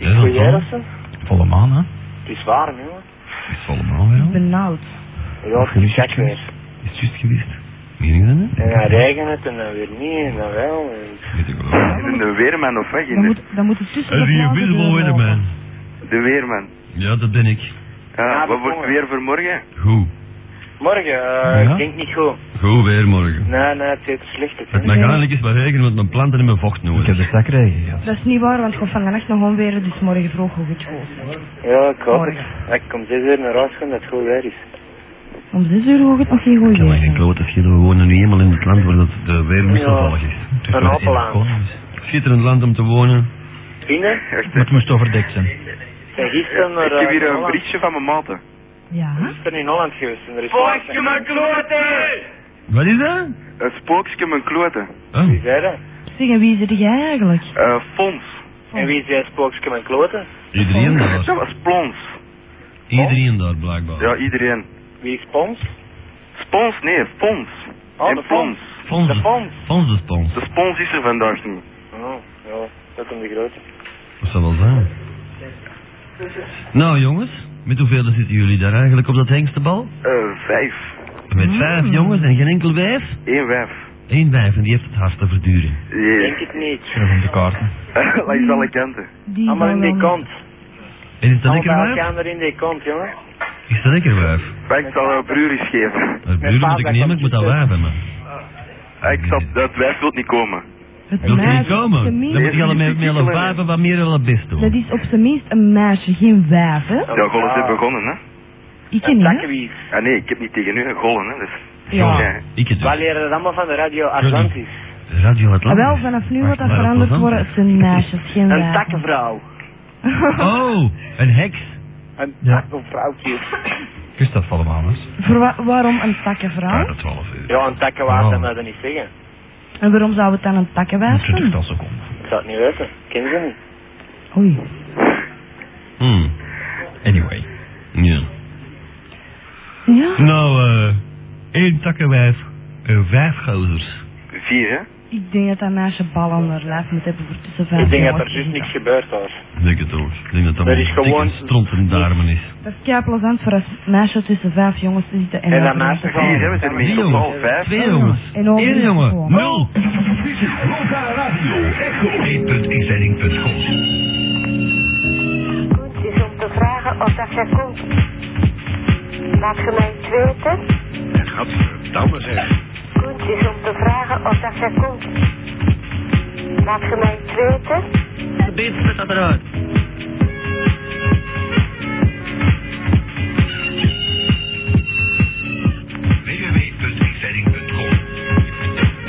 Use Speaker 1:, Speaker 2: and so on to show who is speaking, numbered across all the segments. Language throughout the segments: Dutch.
Speaker 1: Herfsen.
Speaker 2: Volle maan, hè?
Speaker 1: Het is warm, jongen.
Speaker 2: Het is volle maan, ja.
Speaker 3: Benauwd.
Speaker 1: Ja, het is gek weer.
Speaker 2: Is het juist geweest? Meen je dat, hè?
Speaker 1: En dan regent het en dan weer niet en dan wel. En...
Speaker 2: Weet ik wel.
Speaker 4: Is het een weerman of wat?
Speaker 3: Dan moet, dan moet het tussen
Speaker 5: Een
Speaker 3: de blauwe
Speaker 5: reusable
Speaker 3: deur
Speaker 5: weatherman.
Speaker 3: lopen.
Speaker 4: De weerman.
Speaker 5: Ja, dat ben ik.
Speaker 4: Ja,
Speaker 1: Ja,
Speaker 4: wat
Speaker 1: dat
Speaker 4: wordt
Speaker 1: kon
Speaker 4: het
Speaker 1: ik.
Speaker 4: weer voor morgen?
Speaker 5: Goed.
Speaker 1: Morgen, eh,
Speaker 5: Ja?
Speaker 1: ik denk niet goed.
Speaker 5: Goed weer morgen.
Speaker 1: Nee, nee, het is slecht. Het,
Speaker 5: Het
Speaker 1: hè.
Speaker 5: mag eigenlijk eens maar regenen, want mijn planten hebben vocht
Speaker 2: Ik heb
Speaker 5: nodig.
Speaker 2: de zakregen gehad.
Speaker 3: Dat is niet waar, want ik kom vannacht nog omweren, dus morgen vroeg hoog het goed.
Speaker 1: Ja, ik hoop het.
Speaker 3: Morgen.
Speaker 1: Ja, Ik kom zes uur naar huis gaan dat het goed weer is.
Speaker 3: Om zes uur hoog het nog geen
Speaker 5: Ik
Speaker 3: goed
Speaker 5: kan maar geen
Speaker 3: weer.
Speaker 5: klote schelen, we wonen nu eenmaal in het land waar dat de weer wisselvallig is.
Speaker 2: Het is wel
Speaker 1: appel
Speaker 2: in de
Speaker 1: aan.
Speaker 2: koning.
Speaker 5: dus. Schitterend land om te wonen.
Speaker 1: Binnen?
Speaker 4: Echt,
Speaker 2: Maar het moest overdekt zijn.
Speaker 1: Ik ben gisteren naar...
Speaker 4: ik heb hier
Speaker 1: eh,
Speaker 4: een
Speaker 1: Holland-
Speaker 4: briefje van mijn maten.
Speaker 3: Ja?
Speaker 1: gisteren in Holland geweest en er is...
Speaker 5: Wat is dat?
Speaker 4: Een spookje mijn kloten.
Speaker 5: Oh,
Speaker 1: Wie zei dat?
Speaker 3: Zeg, en wie zit jij eigenlijk?
Speaker 4: Eh, Fons.
Speaker 1: En wie zei spookje mijn kloten?
Speaker 5: iedereen
Speaker 4: Dat
Speaker 5: daar.
Speaker 4: was Plons.
Speaker 5: Iedereen daar, blijkbaar.
Speaker 4: Ja, iedereen.
Speaker 1: Wie is Pons?
Speaker 4: Spons? Nee, Fons.
Speaker 1: Oh,
Speaker 4: en
Speaker 1: de
Speaker 4: Plons.
Speaker 1: Fons.
Speaker 5: Fons
Speaker 1: De Fons.
Speaker 5: Fons de Spons.
Speaker 4: De Spons is er vandaag niet.
Speaker 1: Oh, ja, dat om de grote.
Speaker 5: Dat zal wel zijn. Nou jongens, met hoeveel zitten jullie daar eigenlijk op dat hengstenbal?
Speaker 4: Eh, vijf.
Speaker 5: Met vijf jongens en geen enkel wijf?
Speaker 4: Eén wijf.
Speaker 5: Eén wijf en die heeft het hard te verduren.
Speaker 1: Ik
Speaker 4: Yeah.
Speaker 1: denk het niet.
Speaker 2: Schrijf op de kaarten.
Speaker 4: Langs alle kanten.
Speaker 3: Die
Speaker 1: Allemaal Ah, in
Speaker 3: zal
Speaker 1: die
Speaker 3: wel-
Speaker 1: kant.
Speaker 5: En is dat
Speaker 1: Allemaal
Speaker 5: lekker
Speaker 1: bij
Speaker 5: wijf?
Speaker 1: elkaar in die kant, jongen.
Speaker 5: Is dat lekker wijf?
Speaker 4: Maar ik zal een broer eens geven.
Speaker 5: Dat
Speaker 1: Mijn
Speaker 5: buur moet
Speaker 1: vader
Speaker 5: ik nemen, ik
Speaker 1: kwam
Speaker 5: moet dat
Speaker 1: gisteren.
Speaker 5: wijf hebben.
Speaker 4: Ah, Ik zal, dat wijf wil niet komen.
Speaker 3: Het
Speaker 5: Wil je niet
Speaker 3: meisje, op zijn
Speaker 5: komen? Dan
Speaker 3: minst-
Speaker 5: moet je al met, met alle vijf en wat meer en wat best
Speaker 3: Dat
Speaker 5: doen.
Speaker 3: is op zijn minst een meisje, geen wijf, hè?
Speaker 1: Oh,
Speaker 4: Ja, gollen
Speaker 1: ah.
Speaker 4: zijn begonnen, hè?
Speaker 3: Ik
Speaker 1: En
Speaker 3: niet. hè?
Speaker 1: takkenwies.
Speaker 4: Ah nee, ik heb niet tegen u een gollen, hè? Dus,
Speaker 3: Ja.
Speaker 5: Ik het
Speaker 1: Wij
Speaker 5: dus.
Speaker 1: leren dat allemaal van de radio Atlantis.
Speaker 5: Radio
Speaker 3: Ah,
Speaker 5: Atlantis.
Speaker 3: wel, vanaf nu wordt dat
Speaker 5: Maar- maar
Speaker 3: veranderd
Speaker 5: plezant,
Speaker 3: worden. Het zijn meisjes, geen
Speaker 1: Een
Speaker 3: wijven.
Speaker 1: takkenvrouw.
Speaker 5: Oh, een heks.
Speaker 1: Een
Speaker 2: Ja.
Speaker 1: takkenvrouwtje.
Speaker 2: Kust dat volle maan, hè?
Speaker 3: Voor wa- waarom een takkenvrouw?
Speaker 2: Ja, dat 12 uur.
Speaker 1: Ja, een takkenwaard, dat
Speaker 2: Oh.
Speaker 1: mag je niet zeggen.
Speaker 3: En waarom zou het dan een takkenwijf
Speaker 2: Een
Speaker 3: zijn?
Speaker 2: twintigtal seconden.
Speaker 1: Ik zou het niet weten. Ik Ken ze niet.
Speaker 3: Oei.
Speaker 5: Hmm.
Speaker 2: Anyway.
Speaker 5: Ja.
Speaker 3: Ja,
Speaker 5: Nou, eh, één takkenwijf en vijf gouders.
Speaker 4: vier, hè?
Speaker 3: ik denk dat dat meisje bal onder lijf moet hebben voor tussen vijf
Speaker 1: Ik denk dat
Speaker 3: jongens
Speaker 1: er dus
Speaker 3: en
Speaker 1: niks
Speaker 3: zo.
Speaker 1: gebeurt hoor.
Speaker 5: Ik Denk het ook. Ik Denk dat dat
Speaker 1: Er is
Speaker 5: een dikke
Speaker 1: gewoon-
Speaker 5: stront in de darmen is.
Speaker 3: Dat is kei plezant voor een meisje tussen vijf jongens te zitten. En,
Speaker 1: En dat
Speaker 3: over
Speaker 1: meisje
Speaker 3: te
Speaker 1: van-
Speaker 4: Vier, hè? We zijn
Speaker 5: Drie
Speaker 4: met totaal
Speaker 5: jongens,
Speaker 4: vijf.
Speaker 5: twee jongens,
Speaker 3: En over
Speaker 5: één
Speaker 3: de
Speaker 5: jongen,
Speaker 3: school.
Speaker 5: nul.
Speaker 6: Dit is Loka Radio Echo 1.inzending.com.
Speaker 7: goed is om te vragen of dat jij komt. Laat je mij het weten.
Speaker 6: Het gaat verdamme zeg.
Speaker 7: Goed is om te vragen of dat jij komt. Laat je mij het weten.
Speaker 5: Beet met dat eruit.
Speaker 6: www.inzending.com.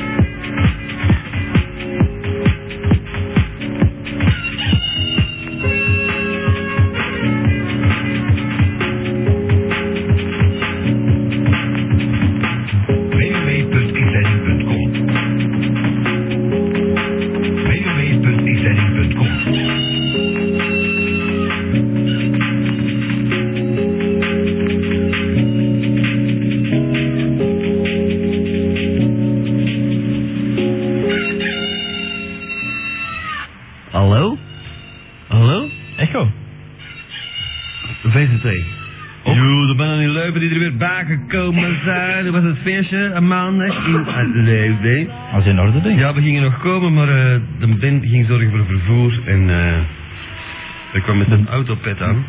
Speaker 6: www.inzending.com. www.inzending.com.
Speaker 5: Hallo? Hallo? Echo? VZT. Jo, er zijn die leuven die er weer bij gekomen zijn. Er was het feestje een maandag in Leeuwen.
Speaker 2: Als in orde, denk ik.
Speaker 5: Ja, we gingen nog komen, maar eh, de band ging zorgen voor vervoer en eh ik kwam met een autopet aan.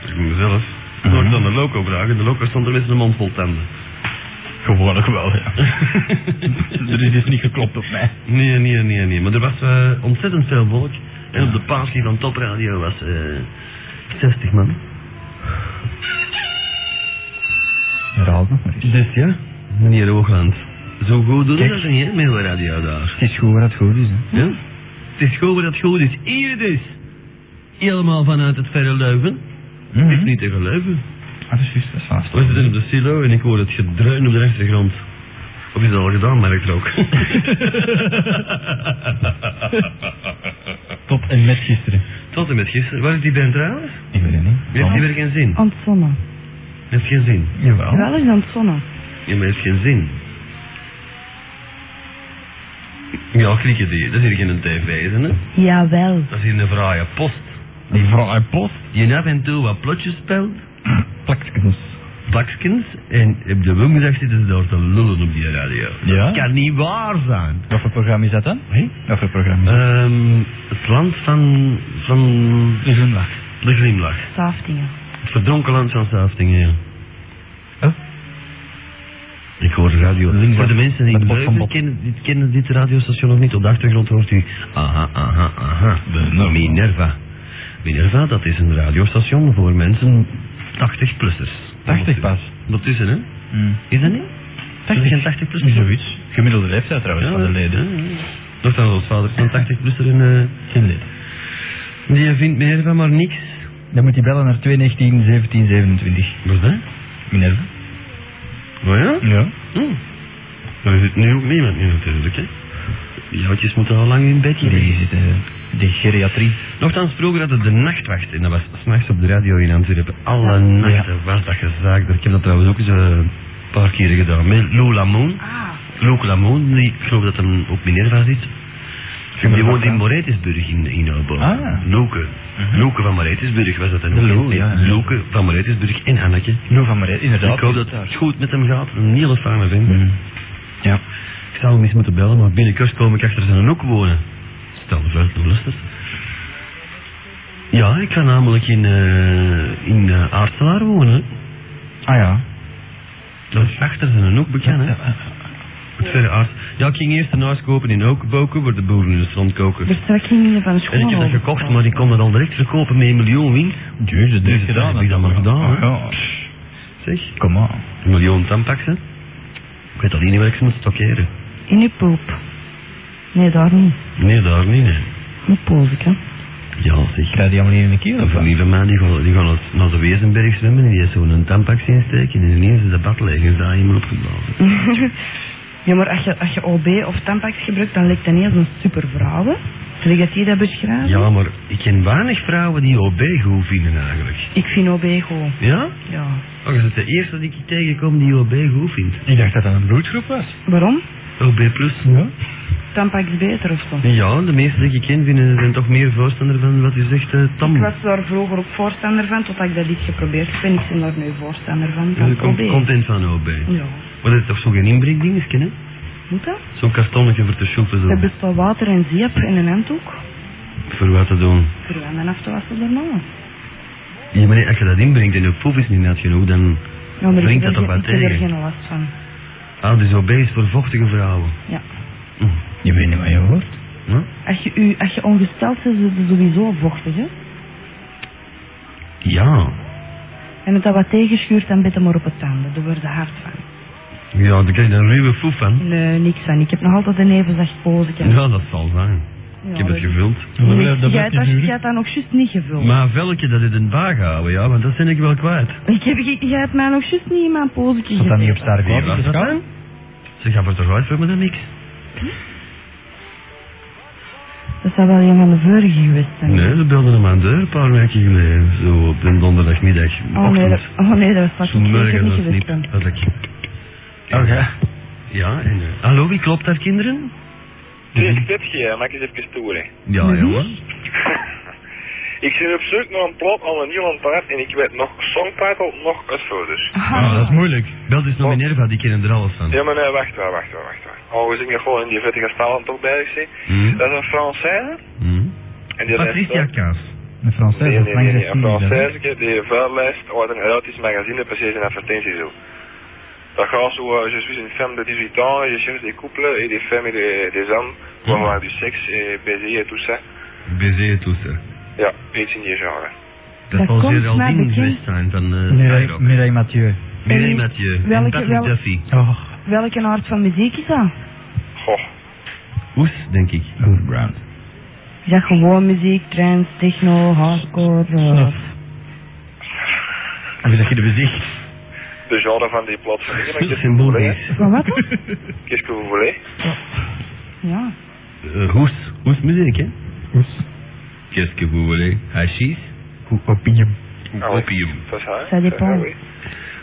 Speaker 5: Dus ik mezelf. Ik hoorde dan de loco vragen en de loco stond er met zijn mond vol tanden.
Speaker 2: Gewoonlijk wel, ja. er is dus niet geklopt op mij.
Speaker 5: Nee, nee, nee, nee. Maar er was eh, ontzettend veel volk. En op de paas die van Topradio was eh 60 man.
Speaker 2: Herhaal het nog maar eens.
Speaker 5: Dus ja, meneer Oogland. Zo goed doen we dat niet, hè, met uw radio daar.
Speaker 2: Het is goed waar het goed is, hè.
Speaker 5: Ja? Het is goed waar dat goed is. Hier dus. Helemaal vanuit het verre Leuven.
Speaker 8: Mhm.
Speaker 5: Het is niet te geloven.
Speaker 2: Ah, dat is juist, dat is vast.
Speaker 5: Mhm. We zitten op de silo en ik hoor het gedreun op de achtergrond. Of is dat al gedaan, merk ik ook.
Speaker 2: Tot en met gisteren.
Speaker 5: Tot en met gisteren. Waar is die band trouwens?
Speaker 2: Ik weet het niet.
Speaker 5: Die heeft hier weer geen zin.
Speaker 3: Aan het zonnen.
Speaker 5: Heeft geen zin.
Speaker 2: Jawel.
Speaker 3: Wel eens aan het zonnen.
Speaker 5: Ja, maar heeft geen zin. Ja, krieken die. Dat is hier geen tv, hè?
Speaker 3: Jawel.
Speaker 5: Dat is hier een fraaie post.
Speaker 8: Die vrouw uit Post,
Speaker 5: Je hebt en toe wat plotjes speelt,
Speaker 8: plakskens.
Speaker 5: plakskens, en op de woensdag zitten ze daar te lullen op die radio.
Speaker 8: Ja?
Speaker 5: Kan niet waar zijn.
Speaker 8: Wat voor programma is dat dan?
Speaker 5: Hé?
Speaker 8: Wat voor programma is dat?
Speaker 5: Ehm, het land van, van
Speaker 8: De zondag.
Speaker 5: de glimlach.
Speaker 3: Staafdingen.
Speaker 5: Het verdronken land van Saftingen, ja.
Speaker 8: Huh?
Speaker 5: Ik hoor de radio.
Speaker 8: Links-
Speaker 5: Voor de mensen die
Speaker 8: met Bob van
Speaker 5: Leuven
Speaker 8: Bob.
Speaker 5: kennen, dit- kennen dit radiostation nog niet, op de achtergrond hoort u... Aha, aha, aha.
Speaker 8: Minerva.
Speaker 5: Minerva. Minerva, dat is een radiostation voor mensen 80-plussers.
Speaker 8: 80 pas.
Speaker 5: Ondertussen, hè?
Speaker 8: Mm.
Speaker 5: Is dat niet? Is dat geen 80-plusser?
Speaker 8: Zoiets. Gemiddelde leeftijd trouwens van de leden.
Speaker 5: Nog dan ons vader van 80-plusser en... eh,
Speaker 8: Geen leden.
Speaker 5: die vindt Minerva maar niks.
Speaker 8: Dan moet hij bellen naar 219 17 27.
Speaker 5: Wat dat?
Speaker 8: Minerva?
Speaker 5: Wat ja?
Speaker 8: Ja.
Speaker 5: Hm. Daar zit nu ook niemand in natuurlijk, hè. Die oudjes moeten al lang in bed liggen.
Speaker 8: Die zit eh, de geriatrie.
Speaker 5: Nochtans, vroeger hadden we de nachtwacht. En dat was s'nachts op de radio in Antwerpen. Alle nachten was dat gezaagd. Ik heb dat trouwens ook eens eh, een paar keren gedaan. Met Lou Lamoon.
Speaker 3: Ah,
Speaker 5: Lou Lamoon, die, ik geloof dat hem op Minerva zit.
Speaker 8: me
Speaker 5: Die
Speaker 8: dat
Speaker 5: woont in
Speaker 8: aan?
Speaker 5: Moretisburg in, in Aalborg.
Speaker 8: Ah.
Speaker 5: Loeke. Loeke van Moretisburg was dat dan
Speaker 8: De
Speaker 5: ook.
Speaker 8: Lou, ja, ja.
Speaker 5: Loeke van Moretisburg en Hanneke.
Speaker 8: Lou van Marais, inderdaad.
Speaker 5: Ik hoop dat het goed met hem gaat. Een hele fijne vent.
Speaker 8: Mm. Ja.
Speaker 5: Ik zou hem eens moeten bellen, maar binnenkort kom ik achter zijn hoek wonen. Stel de vrouw toe lustig. Ja, ik ga namelijk in, eh in eh, Aartselaar wonen.
Speaker 8: Ah ja.
Speaker 5: Dat is achter zijn hoek bekend, hè? Het verre Aarts. Ja, ik ging eerst een huis kopen in Okenboken, waar de boeren in de strand koken.
Speaker 3: Dus Betrekkingen van
Speaker 5: En
Speaker 3: school.
Speaker 5: ik heb dat gekocht, maar ik kon dat al direct verkopen met een miljoen winst.
Speaker 8: Jezus, dat
Speaker 5: Dus
Speaker 8: heeft gedaan.
Speaker 5: heb ik dat maar gedaan,
Speaker 8: Ah,
Speaker 5: hè.
Speaker 8: ja.
Speaker 5: Zeg,
Speaker 8: Kom aan.
Speaker 5: een miljoen tampaxen. Ik weet alleen niet waar ik ze moet stockeren.
Speaker 3: In uw poep. Nee, daar niet.
Speaker 5: Nee, daar niet, nee.
Speaker 3: Met pozik, hè.
Speaker 5: Ja, zeg.
Speaker 8: Krijg die allemaal niet in de keel?
Speaker 5: Een
Speaker 8: of wat?
Speaker 5: familie van mij die gaan, die gaan naar- naar de Wezenberg zwemmen en die heeft zo'n tampax insteken en ineens is de bad leeg en is daar iemand opgeblazen.
Speaker 3: ja, maar als je, als je OB of Tampax gebruikt, dan lijkt dat niet als een supervrouw, hè. Zeg dat je dat beschrijft?
Speaker 5: Ja, maar ik ken weinig vrouwen die OB goed vinden eigenlijk.
Speaker 3: Ik vind OB goed.
Speaker 5: Ja?
Speaker 3: Ja.
Speaker 5: Oh, is het de eerste die ik tegenkom die OB goed vindt?
Speaker 8: Ik dacht dat dat een bloedgroep was.
Speaker 3: Waarom?
Speaker 5: OB plus?
Speaker 8: Ja.
Speaker 3: Tampax beter of zo.
Speaker 5: Ja, de meeste die ik ken vinden, zijn toch meer voorstander van wat u zegt, eh tam.
Speaker 3: Ik was daar vroeger ook voorstander van, totdat ik dat iets geprobeerd heb. En ik ben daar nu voorstander van.
Speaker 5: Dus
Speaker 3: van
Speaker 5: ik kom-
Speaker 3: OB.
Speaker 5: content van OB.
Speaker 3: Ja.
Speaker 5: Maar dat is toch zo'n inbrengdingetje, hè?
Speaker 3: Moet dat?
Speaker 5: Zo'n kartonnetje voor te shoppen,
Speaker 3: Er
Speaker 5: zo.
Speaker 3: bestaat water en zeep en een handdoek.
Speaker 5: Voor wat te doen.
Speaker 3: Voor handen af te wassen nou. daarna.
Speaker 5: Ja, maar nee, als je dat inbrengt en de poef is niet nat genoeg, dan...
Speaker 3: Ja, maar
Speaker 5: Drinkt
Speaker 3: ik heb
Speaker 5: dat
Speaker 3: er-
Speaker 5: dan
Speaker 3: Ik heb er
Speaker 5: tegen?
Speaker 3: geen last van.
Speaker 5: Ah, dus OB is voor vochtige vrouwen.
Speaker 3: Ja.
Speaker 5: Hm.
Speaker 8: Je weet niet wat je hoort.
Speaker 5: Huh?
Speaker 3: Als je, u, als je ongesteld bent, is het sowieso vochtig, hè.
Speaker 5: Ja.
Speaker 3: En als dat wat tegenschuurt, dan bit hem maar op het tanden. Daar word je hard van.
Speaker 5: Ja, daar krijg je een ruwe foef van.
Speaker 3: Nee, niks van. Ik heb nog altijd een even zacht pozetje.
Speaker 5: Ja, dat zal zijn. Ik heb het gevuld.
Speaker 3: Jij hebt dat- jij hebt dat nog juist niet gevuld.
Speaker 5: Maar velkje dat in een baag houden, ja, want dat ben ik wel kwijt.
Speaker 3: Ik heb, ik- jij hebt mij nog juist niet in mijn pozetje
Speaker 8: Zat dat niet op
Speaker 3: gezet.
Speaker 8: sterk
Speaker 5: Wie was dat dan? Ze gaan er toch uit voor me dan niks?
Speaker 3: Dat zou wel een van de vorige geweest zijn.
Speaker 5: Nee, ze belden hem aan de deur een paar weken geleden. Zo op een donderdagmiddag.
Speaker 3: Oh nee, dat,
Speaker 5: ochtend.
Speaker 3: oh nee, dat was
Speaker 5: Zo'n
Speaker 3: ik
Speaker 5: morgen
Speaker 3: zeker niet
Speaker 5: dat het
Speaker 3: geweest.
Speaker 5: niet.
Speaker 3: dan.
Speaker 5: Had ik.
Speaker 8: Oh ja.
Speaker 5: Ja, en. eh, hallo, wie klopt daar, kinderen?
Speaker 4: Zeg, Pepje, maak eens even stoer.
Speaker 5: Ja, jongen.
Speaker 4: Ik zit op zoek naar een plot aan een nieuw paard en ik weet nog songtitle, nog het foto's.
Speaker 8: Ah, dat is moeilijk.
Speaker 5: Bel dus naar Minerva, die kennen er alles van.
Speaker 4: Ja, maar nee, wacht wel, wacht wel, wacht wel. Oh, we zingen gewoon in die vettige stalen toch bij, ik zie.
Speaker 5: Hm?
Speaker 4: Dat is een Française.
Speaker 5: Hm?
Speaker 4: En die eh,
Speaker 5: Patricia
Speaker 4: lijst-
Speaker 5: Kaas.
Speaker 8: Een Française
Speaker 4: Nee,
Speaker 8: of
Speaker 4: nee, nee, nee, een
Speaker 8: Franse studie,
Speaker 4: Française die vuillijst uit een erotisch magazine precies in advertentie zo. Dat gaat zo, eh, je suis une femme de 18 ans, je cherche des couples et des femmes et des, des hommes pour
Speaker 5: Hm.
Speaker 4: avoir du sexe et eh, baiser et tout ça.
Speaker 5: Bezee Toeser.
Speaker 4: Ja, iets in die genre.
Speaker 5: Dat
Speaker 3: Dat
Speaker 5: zal
Speaker 3: komt mij
Speaker 5: Geraldine
Speaker 3: bekend.
Speaker 5: geweest zijn van
Speaker 8: hè?
Speaker 5: eh
Speaker 8: Mireille,
Speaker 5: Skyrock.
Speaker 8: Mireille Mathieu.
Speaker 5: Mireille
Speaker 3: En
Speaker 5: Mathieu en
Speaker 3: welke-
Speaker 5: Patrick
Speaker 3: welke-
Speaker 5: Duffy.
Speaker 8: Oh,
Speaker 3: Welke aard van muziek is dat?
Speaker 4: Goh,
Speaker 5: Oes, denk ik.
Speaker 8: good ground.
Speaker 3: Is dat gewoon muziek, trance, techno, hardcore? eh,
Speaker 8: Wie dat je de bezicht?
Speaker 4: de genre van die plot. Zeg maar, Qu'est-ce que vous voulez?
Speaker 5: Symboolisch.
Speaker 3: Van wat dan?
Speaker 4: Qu'est-ce que vous voulez?
Speaker 3: Ja.
Speaker 5: Eh, Hoes, hoesmuziek, hè?
Speaker 8: Oes.
Speaker 5: Qu'est-ce que vous voulez? Hashish?
Speaker 8: Hoe opium.
Speaker 4: Ah oui,
Speaker 5: Opium.
Speaker 4: Ça, ça,
Speaker 3: Ça dépend.
Speaker 4: Ah oui.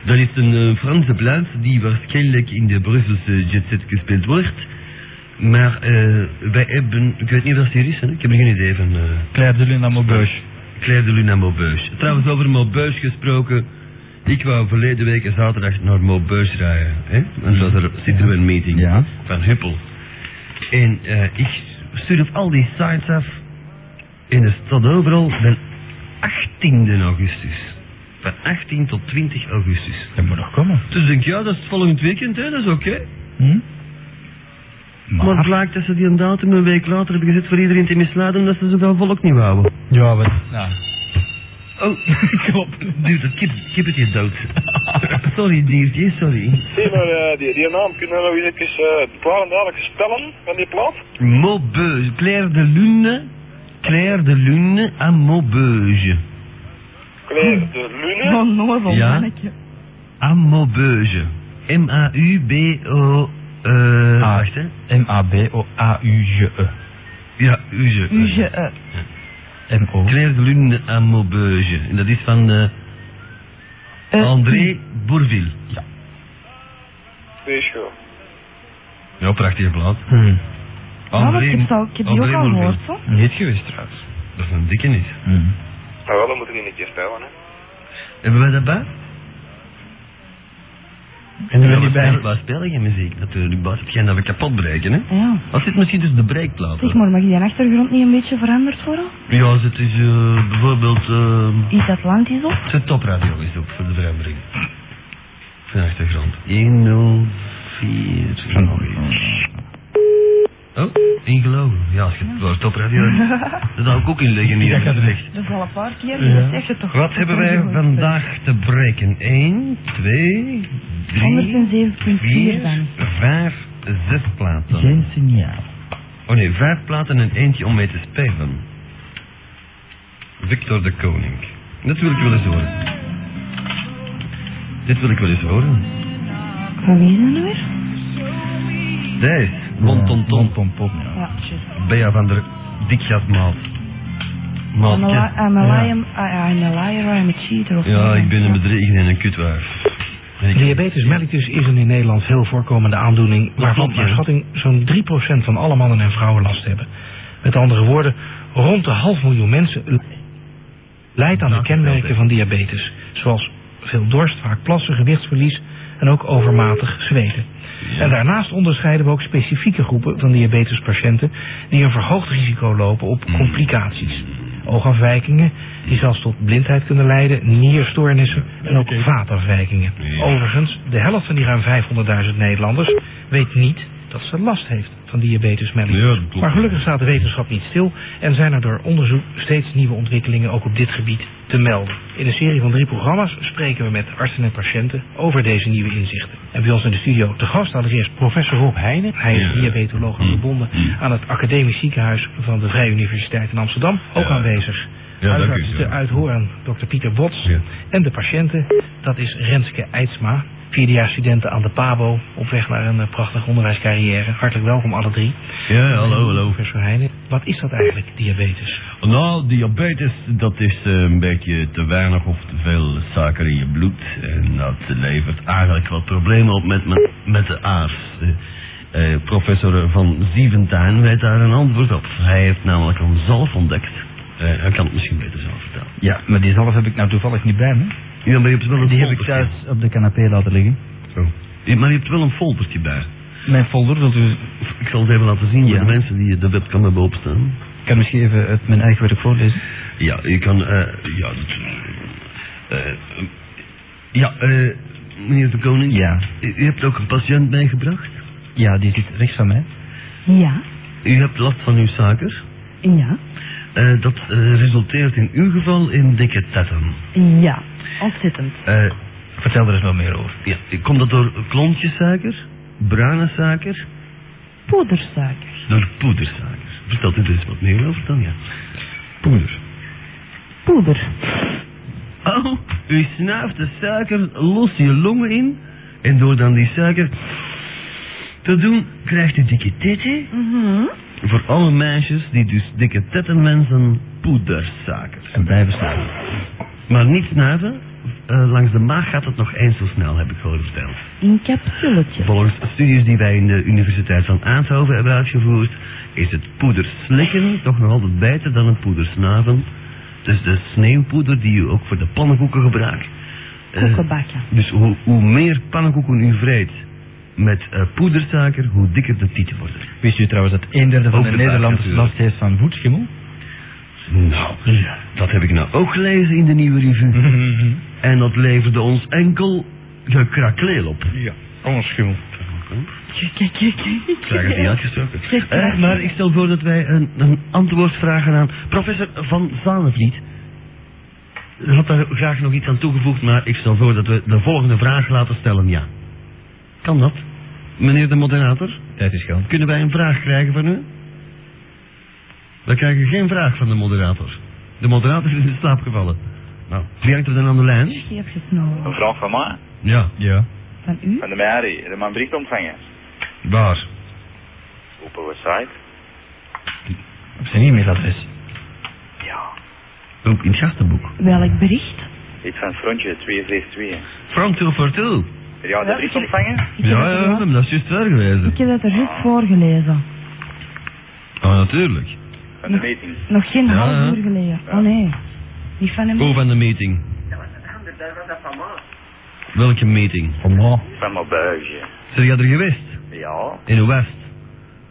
Speaker 5: Dat is een eh, Franse plaats die waarschijnlijk in de Brusselse jetset gespeeld wordt. Maar eh, wij hebben, ik weet niet wat het hier is, hè? ik heb er geen idee van. eh.
Speaker 8: Claire de Lune aan mijn beus.
Speaker 5: Claire de Lune naar Maubeuge. Trouwens, over Maubeuge gesproken. Ik wou verleden week en zaterdag naar Maubeuge rijden. Hè? En dat was er Citroën meeting
Speaker 9: Ja.
Speaker 5: van Huppel. En eh, ik stuur op al die sites af. In de stad overal. Van 18 augustus. Van 18 tot 20 augustus.
Speaker 9: Dat moet nog komen.
Speaker 5: Dus ik denk, ja, dat is het volgend weekend, hè? dat is oké.
Speaker 9: Hm?
Speaker 5: Maar
Speaker 9: Maar,
Speaker 5: blijkt dat ze die datum een week later hebben gezet voor iedereen te misladen omdat ze zoveel volk niet wouden.
Speaker 9: ja, wat,
Speaker 8: Ah.
Speaker 9: ja.
Speaker 5: Oh, klopt. Duurt het kip, kippetje dood. sorry, diertje, sorry.
Speaker 10: Zie maar, eh, die, die naam kunnen we nou eens even eh, klaar en duidelijk spellen van die plaat.
Speaker 5: Maubeuge, Claire de Lune, Claire de Lune aan Maubeuge.
Speaker 10: Claire de Lune.
Speaker 3: Zo'n nozel
Speaker 5: Ja.
Speaker 3: Oh, mannetje.
Speaker 5: Aan Maubeuge. M-A-U-B-O... eh
Speaker 9: Ah.
Speaker 5: wacht, hè.
Speaker 8: E.
Speaker 9: M-A-B-O-A-U-G-E.
Speaker 5: Ja, Uge.
Speaker 3: Uge, eh,
Speaker 9: M-O.
Speaker 5: Claire de Lune aan Maubeuge. En dat is van eh,
Speaker 3: eh,
Speaker 5: André Bourville.
Speaker 10: Die is goed.
Speaker 5: Ja, prachtige plaat.
Speaker 9: Hm.
Speaker 3: Ja, maar ik heb, zo, ik heb die ook
Speaker 5: André
Speaker 3: al
Speaker 5: Bourville.
Speaker 3: gehoord, zo.
Speaker 9: Niet geweest trouwens.
Speaker 5: Dat is een dikke niet.
Speaker 9: Hm.
Speaker 10: Nou wel, dan moeten die een keer spelen, hè.
Speaker 5: Hebben wij dat bij?
Speaker 9: En er
Speaker 5: Ja,
Speaker 9: ben je
Speaker 5: we
Speaker 9: bij.
Speaker 5: spelen- Wij spelen geen muziek natuurlijk, Bas. Hetgeen dat we kapot breken, hè.
Speaker 3: Ja.
Speaker 5: Wat zit misschien tussen de breekplaten?
Speaker 3: Zeg maar, mag die achtergrond niet een beetje veranderd worden?
Speaker 5: Ja, zit is eh, bijvoorbeeld... eh
Speaker 3: Iets Atlantisch op?
Speaker 5: zet topradio eens op voor de verandering. Van de achtergrond. 104...
Speaker 9: Van
Speaker 5: Oh, ingelogen. Ja, als je het woord topradio... dat zou ik ook inleggen hier.
Speaker 9: Ik dacht dat het
Speaker 3: Dat is al een paar keer,
Speaker 9: Ja.
Speaker 3: dat zeg je toch.
Speaker 5: Wat hebben wij vandaag te breken? 1, 2, 3,
Speaker 3: 107.4
Speaker 5: 4,
Speaker 3: dan.
Speaker 5: 5, 6 platen.
Speaker 9: Geen signaal.
Speaker 5: Oh nee, vijf platen en eentje om mee te spelen. Victor de Koning. Dat wil ik wel eens horen. Dit wil ik wel eens horen.
Speaker 3: Van wie is dat nu weer?
Speaker 5: Deze. Bon ton ton.
Speaker 9: Bontonton, ja.
Speaker 3: Ja, juist.
Speaker 5: Bea van der Dikjat Maat.
Speaker 3: I'm a, li-
Speaker 5: Maatje.
Speaker 3: I'm, a
Speaker 9: Ja.
Speaker 3: liar, I- I'm a liar, I'm a cheater. Of
Speaker 5: Ja,
Speaker 3: zoiets.
Speaker 5: ik ben een bedrieger en een kutwijf. En ik-
Speaker 2: Diabetes mellitus is een in Nederland veel voorkomende aandoening waarvan
Speaker 5: klopt, ja.
Speaker 2: naar schatting zo'n 3% van alle mannen en vrouwen last hebben. Met andere woorden, rond de half miljoen mensen l- lijdt aan de
Speaker 5: Dank u wel,
Speaker 2: kenmerken
Speaker 5: Dick.
Speaker 2: van diabetes, zoals veel dorst, vaak plassen, gewichtsverlies en ook overmatig zweten. En daarnaast onderscheiden we ook specifieke groepen van diabetespatiënten die een verhoogd risico lopen op
Speaker 5: Hmm.
Speaker 2: complicaties. Oogafwijkingen, die zelfs tot blindheid kunnen leiden, nierstoornissen en ook vaatafwijkingen.
Speaker 5: Ja.
Speaker 2: Overigens, de helft van die ruim 500.000 Nederlanders weet niet dat ze last heeft van diabetes mellitus.
Speaker 5: Ja, dat klopt.
Speaker 2: maar gelukkig staat de wetenschap niet stil en zijn er door onderzoek steeds nieuwe ontwikkelingen ook op dit gebied te melden. In een serie van drie programma's spreken we met artsen en patiënten over deze nieuwe inzichten. En bij ons in de studio te gast allereerst professor Rob Heijnen. Hij is
Speaker 5: Ja.
Speaker 2: diabetoloog en
Speaker 5: Hm.
Speaker 2: verbonden aan het academisch ziekenhuis van de Vrije Universiteit in Amsterdam. Ook
Speaker 5: Ja.
Speaker 2: aanwezig.
Speaker 5: Ja, dank u.
Speaker 2: Huisarts
Speaker 5: Ja.
Speaker 2: te uithoren, dokter Pieter Bots.
Speaker 5: Ja.
Speaker 2: En de patiënten, dat is Renske Eidsma. Vierdejaars studenten aan de PABO, op weg naar een eh, prachtige onderwijscarrière. Hartelijk welkom alle drie.
Speaker 5: Ja, hallo, hallo.
Speaker 2: Professor Heijnen, wat is dat eigenlijk, diabetes?
Speaker 5: Nou, diabetes, dat is eh, een beetje te weinig of te veel suiker in je bloed. En dat levert eigenlijk wat problemen op met, met, met de aars. Eh, eh, professor Van Sieventuin weet daar een antwoord op. Hij heeft namelijk hem zelf ontdekt. Eh, hij kan het misschien beter zelf vertellen.
Speaker 9: Ja, maar die zelf heb ik nou toevallig niet bij me.
Speaker 5: Ja, maar je hebt wel een
Speaker 9: Die heb ik
Speaker 5: foldertje.
Speaker 9: thuis op de canapé laten liggen.
Speaker 5: Oh. Ja, maar je hebt wel een foldertje bij.
Speaker 9: Mijn folder, dat u...
Speaker 5: Ik zal het even laten zien
Speaker 9: Ja.
Speaker 5: voor de mensen die de webcam hebben opstaan.
Speaker 9: Ik kan misschien even uit mijn eigen werk voorlezen.
Speaker 5: Ja, je kan. eh ja, dat, eh, eh, ja, eh, meneer de Koning.
Speaker 9: Ja.
Speaker 5: U, u hebt ook een patiënt meegebracht.
Speaker 9: Ja, die zit rechts van mij.
Speaker 3: Ja,
Speaker 5: U hebt last van uw suiker.
Speaker 3: ja,
Speaker 5: Eh, dat eh, resulteert in uw geval in dikke tetten.
Speaker 3: ja. Ontzettend.
Speaker 5: Eh,
Speaker 9: Vertel er eens wat meer over.
Speaker 5: ja, komt dat door klontjessuiker, bruine suiker,
Speaker 3: Poedersuiker.
Speaker 5: door poedersuiker? Vertelt u er eens wat meer over dan, ja. Poeder.
Speaker 3: Poeder.
Speaker 5: Oh, u snuift de suiker los je longen in. En door dan die suiker te doen, krijgt u dikke titten.
Speaker 3: Mhm.
Speaker 5: Voor alle meisjes die dus dikke tetten wensen, poedersuiker.
Speaker 9: En blijven staan.
Speaker 5: Maar niet snuiven, eh, langs de maag gaat het nog eens zo snel, heb ik gehoord verteld.
Speaker 3: In capsuletjes.
Speaker 5: Volgens studies die wij in de Universiteit van Aanshoven hebben uitgevoerd, is het poeder slikken toch nog altijd beter dan het poeder snuiven. Dus de sneeuwpoeder die je ook voor de pannenkoeken gebruikt. eh,
Speaker 3: Koekenbakken.
Speaker 5: dus hoe, hoe meer pannenkoeken u vreet met eh, poedersuiker, hoe dikker de tieten worden.
Speaker 2: Wist u trouwens dat een derde van de
Speaker 5: Ook de baak
Speaker 2: Nederlanders
Speaker 5: natuurlijk.
Speaker 2: last heeft van voetschimmel?
Speaker 5: Nou, dat heb ik nou ook gelezen in de nieuwe
Speaker 2: Hm.
Speaker 5: revue. En dat leverde ons enkel gekrakeel op.
Speaker 8: Ja, anders schimmel.
Speaker 5: Ik krijg het niet uitgesproken.
Speaker 3: Zeg,
Speaker 5: Eh,
Speaker 3: vraag.
Speaker 5: maar ik stel voor dat wij een, een antwoord vragen aan professor Van Zanevliet. U had daar graag nog iets aan toegevoegd, maar ik stel voor dat we de volgende vraag laten stellen, ja. Kan dat? Meneer de moderator,
Speaker 2: Tijd is geld.
Speaker 5: kunnen wij een vraag krijgen van u? We krijgen geen vraag van de moderator. De moderator is in de slaap gevallen. Nou, wie hangt er dan aan de lijn?
Speaker 3: Die heb je snel.
Speaker 11: Een vraag van mij,
Speaker 5: Ja,
Speaker 2: Ja.
Speaker 3: Van u?
Speaker 11: van de Mary, de man bericht ontvangen.
Speaker 5: waar?
Speaker 11: Op een website?
Speaker 2: Op zijn e-mailadres.
Speaker 11: Ja.
Speaker 5: Ook in het gastenboek.
Speaker 3: Welk bericht?
Speaker 11: Iets van frontje 242.
Speaker 5: From 2 for 2.
Speaker 11: Ja, de bericht ontvangen?
Speaker 3: Ik heb
Speaker 5: Ja,
Speaker 3: het
Speaker 5: ja,
Speaker 3: er
Speaker 5: ja,
Speaker 3: juist-
Speaker 5: dat is juist waar geweest.
Speaker 3: Ik heb het er juist voorgelezen.
Speaker 5: Ah, natuurlijk.
Speaker 11: Van de meeting.
Speaker 3: Nog geen
Speaker 5: Ja, ja.
Speaker 3: half uur geleden. Oh nee. Die van hem.
Speaker 5: Go van de meeting. Welke meeting?
Speaker 11: Van mijn buisje.
Speaker 5: Zijn jij er geweest?
Speaker 11: Ja,
Speaker 5: In de West.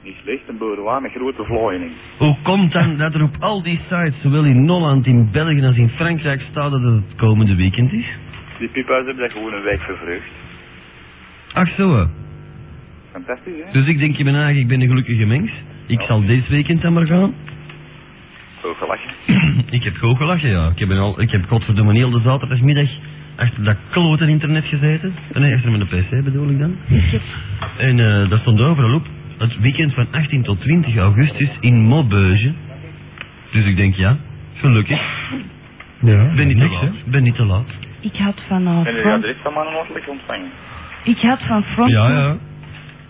Speaker 11: niet slecht, een boerderij met grote vlooiingen.
Speaker 5: Hoe komt dan dat er op al die sites, zowel in Holland, in België als in Frankrijk, staat dat het het komende weekend is?
Speaker 11: Die pipa's hebben daar gewoon een week vervrucht.
Speaker 5: Ach zo. hè.
Speaker 11: Fantastisch, hè?
Speaker 5: Dus ik denk in mijn eigen, ik ben een gelukkige mens. Ik zal dit weekend dan maar gaan.
Speaker 11: Zo gelachen.
Speaker 5: ik heb gewoon gelachen, ja. Ik heb, een al, ik heb godverdomme heel de zaterdagmiddag achter dat klote internet gezeten. Eh, Nee, achter mijn pc bedoel ik dan. En eh, dat stond overal op. Het weekend van 18 tot 20 augustus in Maubeuge. Dus ik denk, ja, gelukkig.
Speaker 2: Ja.
Speaker 5: Ben niet te
Speaker 2: niks, hè?
Speaker 5: laat. Ben niet te laat.
Speaker 3: Ik had van eh,
Speaker 11: En je
Speaker 3: front...
Speaker 11: adres van mannen mogelijk ontvangen.
Speaker 3: Ik had van front...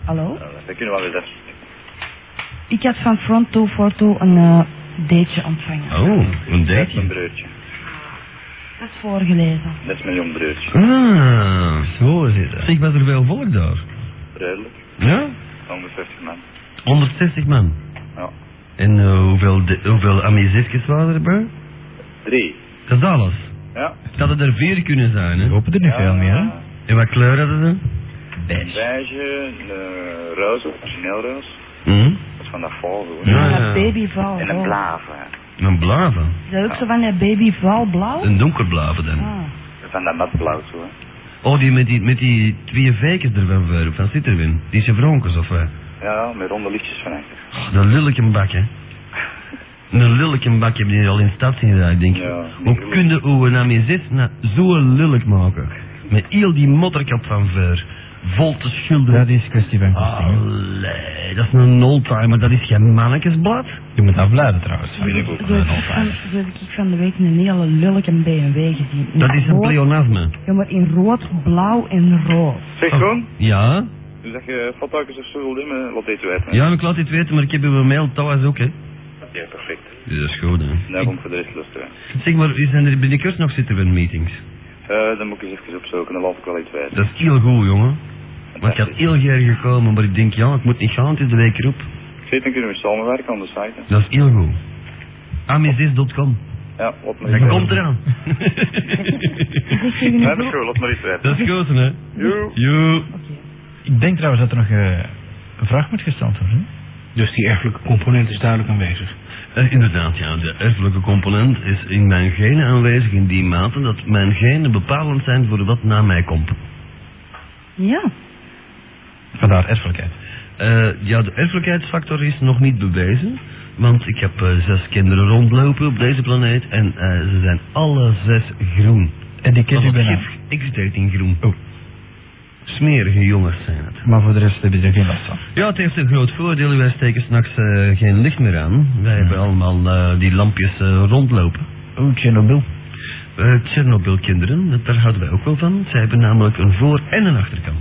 Speaker 3: Hallo?
Speaker 11: Ja, dat kunnen we wel eens.
Speaker 3: Ik had van front to for to een eh, dateje ontvangen.
Speaker 5: Oh, een
Speaker 11: Dat is mijn
Speaker 5: date.
Speaker 11: broertje.
Speaker 3: Dat is voorgelezen.
Speaker 11: Dat is mijn jong broertje.
Speaker 5: Ah, zo zit het. Zeg, was er wel volk daar?
Speaker 11: Redelijk.
Speaker 5: Ja?
Speaker 11: 150 man.
Speaker 5: 160 man.
Speaker 11: Ja.
Speaker 5: En eh, hoeveel, de, hoeveel amusetjes waren er bij?
Speaker 11: Drie.
Speaker 5: Dat is alles.
Speaker 11: Ja.
Speaker 5: Dat het er vier kunnen zijn, hè?
Speaker 2: We hopen er nu veel meer, hè?
Speaker 5: En wat kleur hadden ze?
Speaker 11: Een beige, een roos, een origineelroos.
Speaker 5: Hm?
Speaker 11: Dat is van dat val, hoor.
Speaker 5: Ja, ja.
Speaker 3: Dat babyvouw.
Speaker 11: En een
Speaker 3: oh.
Speaker 11: blave.
Speaker 5: Een blave.
Speaker 3: Is dat ook zo van dat babyvouw blauw?
Speaker 5: Een donkerblave dan.
Speaker 3: Ah.
Speaker 11: Van dat natblauw, zo.
Speaker 5: Oh, die met die, met die twee vijkers ervan voor, van Sitterwin. Die chevronkers of wat?
Speaker 11: Ja, met ronde lichtjes van achter.
Speaker 5: Oh, dat lelijke bak, hè. Een lelijke bak heb je al in de stad zien rijden, denk ik.
Speaker 11: Ja,
Speaker 5: Hoe kun je uw namezet nou zo lelijk maken? Met heel die motterkap van ver. Vol te schilderen.
Speaker 2: Dat is kwestie van kosten. hè.
Speaker 5: Allee, dat is een oldtimer, dat is geen mannetjesblad.
Speaker 2: Je moet afleiden trouwens.
Speaker 3: Zo heb ik van- zo heb ik van de week een hele lullige BMW gezien. In
Speaker 5: Dat is een
Speaker 3: rood-
Speaker 5: pleonasme.
Speaker 3: Ja, maar in rood, blauw en rood.
Speaker 11: Zeg gewoon,
Speaker 5: Ja,
Speaker 11: dus dat je foto's of zo wil doen, eh, wat deed u uit?
Speaker 5: ja, ik laat dit weten, maar ik heb uw mail trouwens ook, hè.
Speaker 11: Ja, perfect.
Speaker 5: Ja, dat is goed, hè.
Speaker 11: Daarom voor de rest lust hè.
Speaker 5: Zeg maar, u zijn er binnenkort nog zitten we in meetings?
Speaker 11: Eh, dan moet ik eens even opzoeken, dan laat ik wel iets weten.
Speaker 5: Dat is heel goed, jongen. Want ik had heel graag gekomen, maar ik denk, ja, ik moet niet gaan, het is de week erop.
Speaker 11: Zit, dan kunnen we samenwerken aan de site. hè.
Speaker 5: Dat is heel goed. Amizis.com.
Speaker 11: Ja, wat maar.
Speaker 5: Dat komt eraan.
Speaker 11: Ja, dat is goed, laat maar iets weten.
Speaker 5: dat is goed, hè.
Speaker 11: Joe.
Speaker 5: Joe.
Speaker 2: Ik denk trouwens dat er nog eh, een vraag moet gesteld worden. hè?
Speaker 12: Dus die erfelijke component is duidelijk aanwezig.
Speaker 5: Eh, inderdaad, ja. De erfelijke component is in mijn genen aanwezig in die mate dat mijn genen bepalend zijn voor wat na mij komt.
Speaker 3: Ja.
Speaker 2: Vandaar erfelijkheid.
Speaker 5: Eh, ja, de erfelijkheidsfactor is nog niet bewezen. Want ik heb eh, zes kinderen rondlopen op deze planeet en eh, ze zijn alle zes groen.
Speaker 2: En die kent u bijna.
Speaker 5: in groen. Oh. Smerige jongens zijn het.
Speaker 2: Maar voor de rest heb je er geen last van.
Speaker 5: Ja, het heeft een groot voordeel. Wij steken s'nachts eh, geen licht meer aan. Wij hebben allemaal eh, die lampjes eh, rondlopen.
Speaker 2: Oh, Chernobyl.
Speaker 5: Eh Tsjernobyl kinderen, daar houden wij ook wel van. Zij hebben namelijk een voor- en een achterkant.